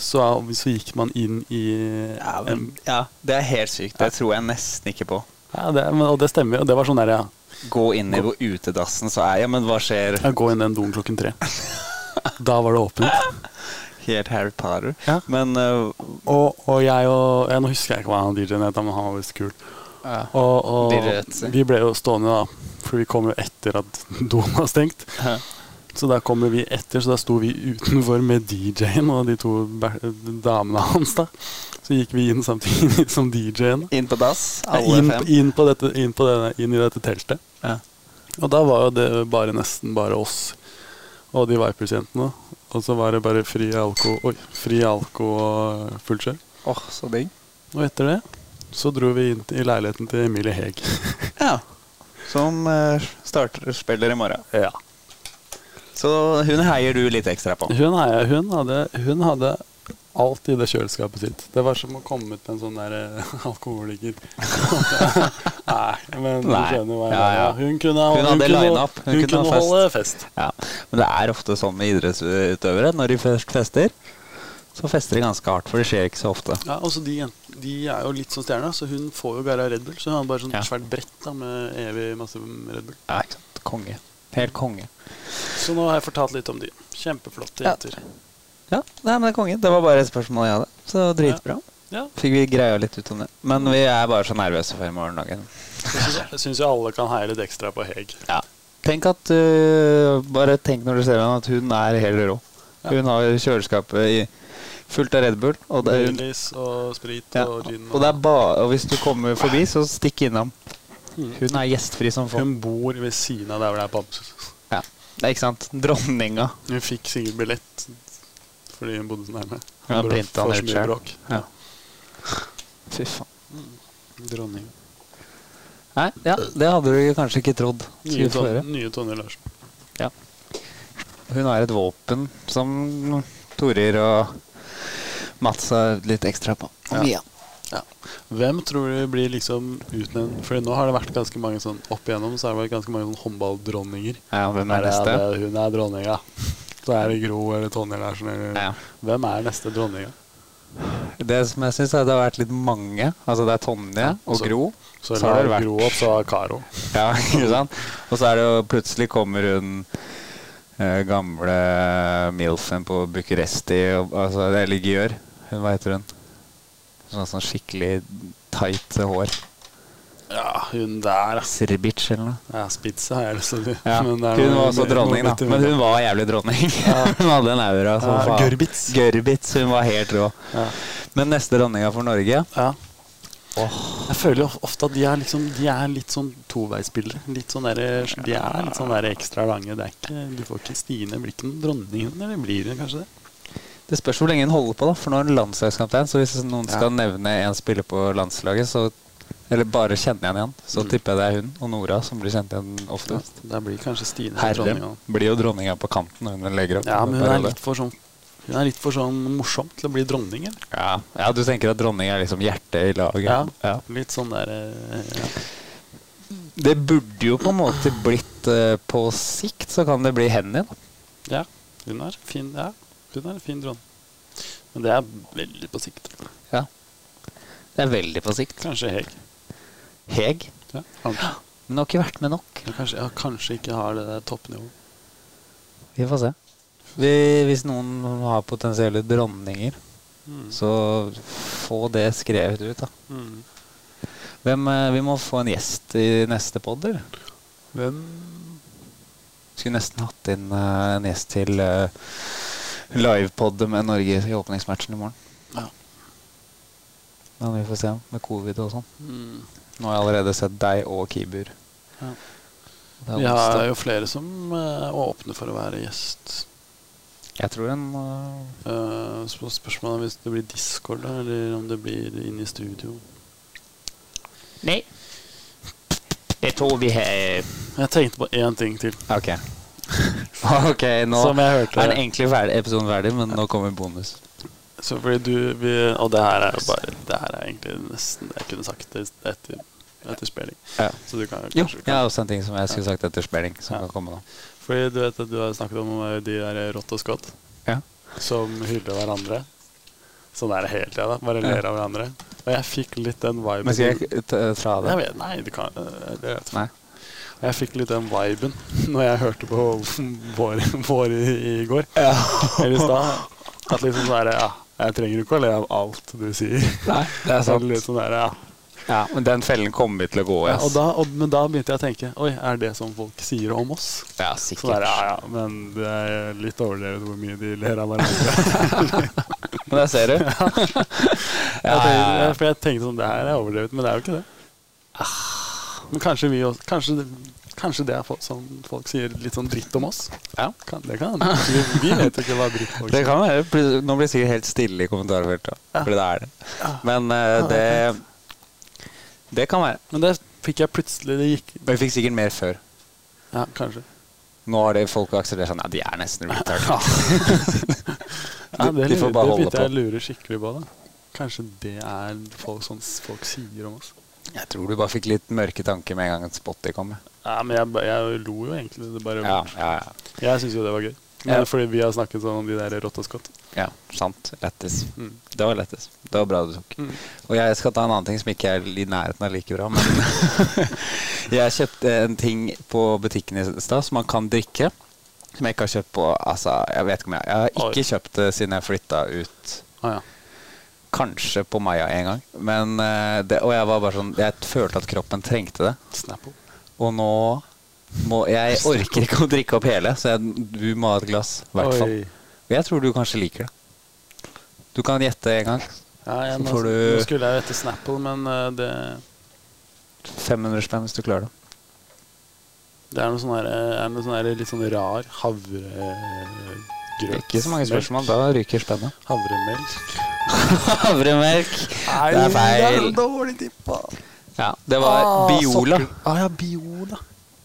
S1: Så, så gikk man inn i
S2: Ja,
S1: en,
S2: men, ja, det er helt sykt. Det tror jeg nesten ikke på.
S1: ja, det, men, Og det stemmer jo. Det var sånn der, ja.
S2: Gå inn i utedassen, så er Ja, men hva skjer?
S1: ja. Gå inn den doen klokken
S2: [LAUGHS]
S1: tre. Da var det åpent.
S2: Helt Harry Potter.
S1: Ja.
S2: Men øh,
S1: Og, og jeg og ja, Nå husker jeg ikke hva han DJ-en het, men han var visst kul. Og,
S2: DJ
S1: og
S2: Ötzi.
S1: vi ble jo stående, da. For vi kom jo etter at [LAUGHS] doen var stengt. Så da kommer vi etter, så da sto vi utenfor med DJ-en og de to bæ- damene hans. da. Så gikk vi inn samtidig som DJ-en.
S2: Inn på dass,
S1: Nei,
S2: alle
S1: Inn,
S2: fem.
S1: inn, på dette, inn, på denne, inn i dette teltet.
S2: Ja.
S1: Og da var jo det bare nesten bare oss og de Vipers-jentene. Og så var det bare fri alko, oi, fri alko og fullt kjør.
S2: Åh, så digg.
S1: Og etter det så dro vi inn til- i leiligheten til Emilie Heg.
S2: Ja. Som øh, starter spiller i morgen.
S1: Ja.
S2: Så hun heier du litt ekstra på.
S1: Hun, er, hun, hadde, hun hadde alt i det kjøleskapet sitt. Det var som å komme ut med en sånn der eh, [LAUGHS] alkoholiker. Nei, men du
S2: Nei.
S1: skjønner hva jeg
S2: Ja,
S1: mener.
S2: ja.
S1: Hun kunne
S2: Hun hadde
S1: kunne-
S2: line-up. Hun
S1: Hun,
S2: kunne
S1: kunne
S2: ha fest.
S1: holde fest.
S2: Ja, Men det er ofte sånn med idrettsutøvere. Når de først fester, så fester de ganske hardt. For det skjer ikke så ofte.
S1: Ja, altså de, jent- de er jo litt sånn stjerna, så hun får jo gara Red Bull. Så hun har bare sånn
S2: Ja.
S1: svært brett da med evig masse Red Bull.
S2: Ja, ikke sant. Konge. Helt konge.
S1: Så nå har jeg fortalt litt om de. Kjempeflotte
S2: Ja.
S1: jenter.
S2: Ja, nei, men det er konge. Det var bare et spørsmål jeg hadde. Så dritbra.
S1: Ja.
S2: Fikk vi greia litt ut om det. Men vi er bare så nervøse for i morgendagen.
S1: Jeg syns- Jeg syns jo alle kan heie litt ekstra på Heg.
S2: Ja. Tenk at øh, Bare tenk når du ser henne, at hun er helt rå.
S1: Ja.
S2: Hun har kjøleskapet i, fullt av Red Bull. Og det, er hun,
S1: Baileys og sprit
S2: ja, og,
S1: og gin.
S2: det er ba, og hvis du kommer forbi, så stikk innom.
S1: Mm.
S2: Hun er gjestfri som faen.
S1: Hun bor ved siden av der hvor det er Bamsus.
S2: Ja. Det er ikke sant? Dronninga.
S1: Hun fikk sikkert billett fordi hun bodde så nærme.
S2: Hun har
S1: Bra-
S2: printet den
S1: får
S2: ut
S1: så mye
S2: selv.
S1: bråk.
S2: Ja. Fy faen.
S1: Dronning.
S2: Nei, ja, det hadde du kanskje ikke trodd.
S1: Nye,
S2: Skulle få
S1: ton,
S2: høre.
S1: nye Tonje Larsen.
S2: Ja. Hun har et våpen som Torir og Mats har litt ekstra på.
S1: Ja. Hvem tror du blir liksom utnevnt For nå har det vært ganske mange sånn opp igjennom så har det vært ganske mange sånn håndballdronninger.
S2: Ja, hvem er
S1: Ja,
S2: neste?
S1: det- hun er dronninga. Så er det Gro eller Tonje Larsen eller
S2: Ja.
S1: Hvem er neste dronninga?
S2: Det som jeg syns, er det har vært litt mange. Altså det er Tonje og
S1: altså-
S2: Gro.
S1: Så,
S2: Så har det
S1: la
S2: vært.
S1: Gro opp, så har Karo.
S2: Ja, [LAUGHS] ikke sant? Og så er det jo plutselig kommer hun eh, gamle Milfen på Bucuresti, og- altså, eller Gjør. Hun, hva heter hun? Sånn, sånn skikkelig tight hår.
S1: Ja, hun der, altså.
S2: Srbic eller noe.
S1: Ja, Spitze har jeg lyst til å si.
S2: Ja, hun var også dronning, da. Men hun var jævlig dronning. [LAUGHS] hun hadde en aura. som
S1: Ja,
S2: faen.
S1: Gørrbits.
S2: Gørrbits, Hun var helt rå.
S1: ja.
S2: Men neste dronninga for Norge
S1: Ja. Jeg føler of- ofte at de er, liksom, de er litt sånn toveisspillere. Litt sånn der, de er litt sånn der ekstra lange. Det er ikke, du får ikke Stine blir ikke noen dronning, eller blir hun kanskje det?
S2: Det spørs hvor lenge hun holder på, da. For nå er hun landslagskaptein. Så hvis noen
S1: Ja.
S2: skal nevne en spiller på landslaget, så eller bare kjenne igjen igjen, så
S1: Mm.
S2: tipper jeg det er hun og Nora som blir kjent igjen oftest.
S1: Da blir kanskje Stine
S2: Herrem
S1: dronninga.
S2: blir jo dronninga på kanten når hun legger opp.
S1: Ja,
S2: en
S1: men hun er
S2: periode.
S1: litt for sånn Hun er litt for sånn morsom til å bli dronning, eller?
S2: ja. ja, du tenker at dronning er liksom hjertet i laget?
S1: Ja.
S2: ja.
S1: Litt sånn der eh, ja.
S2: Det burde jo på en måte blitt eh, På sikt så kan det bli Henny, da.
S1: ja. Hun er fin. Ja, hun er en fin dronning. Men det er veldig på sikt.
S2: Ja. Det er veldig på sikt.
S1: Kanskje Heg.
S2: Heg.
S1: Ja, [GASPS] kanskje.
S2: Men hun har ikke vært med nok.
S1: Men kanskje, ja, kanskje ikke har det der toppnivået.
S2: Vi får se. Vi, hvis noen har potensielle dronninger,
S1: Mm.
S2: så få det skrevet ut, da.
S1: Mm.
S2: Hvem, eh, vi må få en gjest i neste pod, eller?
S1: Hvem
S2: Skulle nesten hatt inn eh, en gjest til uh, livepod med Norge i åpningsmatchen i morgen.
S1: Ja.
S2: Men vi får se med covid og sånn.
S1: Mm.
S2: Nå har jeg allerede sett deg og Kibur.
S1: Ja.
S2: Det er
S1: Vi har
S2: onsdag.
S1: jo flere som eh, åpner for å være gjest.
S2: Jeg tror en eh,
S1: Eh, Så spørsmålet er hvis det blir Discord, da, eller om det blir inne i studio.
S2: Nei. Det tror vi har
S1: Jeg tenkte på én ting til,
S2: Ok. [LAUGHS] ok, nå
S1: som jeg hørte.
S2: er den egentlig ferdig, episoden ferdig, men nå kommer bonus.
S1: Så fordi du vi, Og det her er jo bare Det her er egentlig nesten Jeg kunne sagt det etter, etter spilling.
S2: Ja.
S1: Så du kan
S2: Jo,
S1: kanskje
S2: jeg har også en ting som jeg skulle sagt etter spilling, som
S1: Ja.
S2: kan komme nå.
S1: Fordi du vet at du har snakket om eh, de der rått og skott
S2: Ja.
S1: som hyller hverandre. Sånn er det hele tida. da. Bare ler av hverandre. Og jeg fikk litt den viben
S2: Men skal jeg ta ta av
S1: Jeg
S2: det?
S1: vet, Nei, du kan eh, det vet. jeg.
S2: Nei.
S1: Jeg fikk litt den viben [LAUGHS] når jeg hørte på [LAUGHS] vår, vår i, i går. Eller i stad. At liksom sånn derre Ja, jeg trenger ikke å le av alt du sier.
S2: Nei, det er sant.
S1: Litt sånn der, ja.
S2: Ja, men den fellen kommer vi til å gå i.
S1: Ja, og
S2: ass.
S1: da, og, men da begynte jeg å tenke Oi, er det som folk sier om oss?
S2: Ja,
S1: Så
S2: sikkert.
S1: der, ja, ja, Men det er litt overdrevet hvor mye de ler av hverandre.
S2: [LAUGHS] Men der [LAUGHS] ser du.
S1: Jeg tenkte, for jeg tenkte sånn, det her er overdrevet, men det er jo ikke det.
S2: Ah.
S1: Men kanskje vi også, kanskje, det- kanskje det er folk, som folk sier litt sånn dritt om oss?
S2: Ja.
S1: Kan, det [LAUGHS] kan hende. Vi, vi vet jo ikke hva dritt folk
S2: Det
S1: sier.
S2: kan være. Plut- Nå blir det sikkert helt stille i kommentarfeltet.
S1: Ja.
S2: Fordi det er det. Men eh, det Det kan være.
S1: Men det fikk jeg plutselig Det gikk
S2: Men vi fikk sikkert mer før.
S1: Ja, kanskje.
S2: Nå har det folk akseptert sånn Ja, de er nesten retard.
S1: Ja, det
S2: de får
S1: lurer-
S2: bare
S1: det
S2: holde
S1: begynte
S2: på.
S1: jeg å lure skikkelig på. da Kanskje det er folk, sånn folk sier om oss.
S2: Jeg tror du bare fikk litt mørke tanker med en gang Spotty kom.
S1: Ja, men jeg, ba- jeg lo jo egentlig. Det bare,
S2: Ja, ja, ja.
S1: Jeg syns jo det var gøy. Men
S2: Ja.
S1: Fordi vi har snakket sånn om de der rått og skott.
S2: ja sant. Lættis.
S1: Mm.
S2: Det var lættis. Det var bra du tok.
S1: Mm.
S2: Og jeg skal ta en annen ting som ikke er i nærheten av like bra, men [LAUGHS] Jeg kjøpte en ting på butikken i stad som man kan drikke. Som jeg ikke har kjøpt på Altså, jeg vet ikke om jeg Jeg har ikke
S1: Oi.
S2: kjøpt det siden jeg flytta ut.
S1: Ah, ja.
S2: Kanskje på Maya en gang. Men, eh, det, og jeg var bare sånn Jeg følte at kroppen trengte det.
S1: Snapple.
S2: Og nå må Jeg orker ikke å drikke opp hele, så jeg, du må ha et glass. i Hvert fall.
S1: Oi.
S2: Og Jeg tror du kanskje liker det. Du kan gjette en gang.
S1: Ja, jeg,
S2: Så
S1: nå,
S2: får du-
S1: nå skulle jeg jo etter Snapple, men eh, det,
S2: 500 spenn hvis du klarer det.
S1: det er noe sånn her, eh, er noe sånn her litt sånn rar havregrøt.
S2: Ikke så mange spørsmål, da ryker spennet. [LAUGHS]
S1: Havremelk.
S2: Havremelk.
S1: Nei,
S2: Det er feil.
S1: dårlig tippa.
S2: Ja, det var Biola.
S1: Ah, ja, Biola.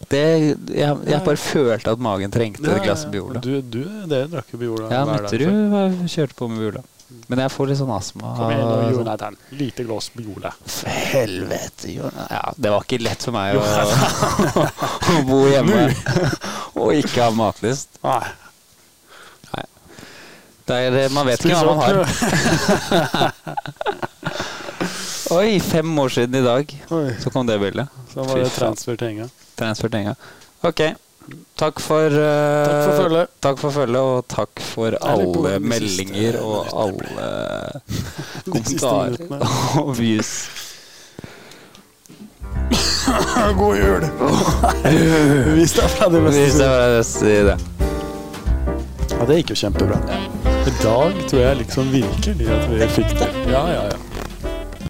S2: Det, jeg, jeg bare følte at magen trengte et glass Biola.
S1: Du, du, dere drakk jo Biola
S2: Ja,
S1: hver dag
S2: Mutterud
S1: før.
S2: var- kjørte på med Biola. Men jeg får litt sånn astma.
S3: Kom igjen, nå, Jonathan. Lite glass med Jole.
S2: For helvete, Jonas. Ja, det var ikke lett for
S1: [LAUGHS]
S2: meg å, [LAUGHS] å bo hjemme [LAUGHS] og ikke ha matlyst.
S3: Nei.
S2: Det er, man vet ikke hva man har. Oi, fem år siden i dag
S1: Oi,
S2: så kom det bildet.
S1: så var
S2: [LAUGHS]
S1: det
S2: Fy faen.
S1: transfer til Enga.
S2: Transfertinga. Ok. Takk for, eh,
S1: Takk for følget.
S2: Takk for følget, og takk for
S1: er litt
S2: alle
S1: problem de siste
S2: meldinger og alle
S1: [LAUGHS]
S2: kommentarer
S1: minuttene.
S2: [LAUGHS]
S1: [LAUGHS]
S2: og views.
S1: God jul! Hvis det er fra det beste
S2: Hvis det var det beste i det.
S1: Ja, det gikk jo kjempebra. I dag tror jeg liksom virkelig at vi fikk det. Ja, ja, ja.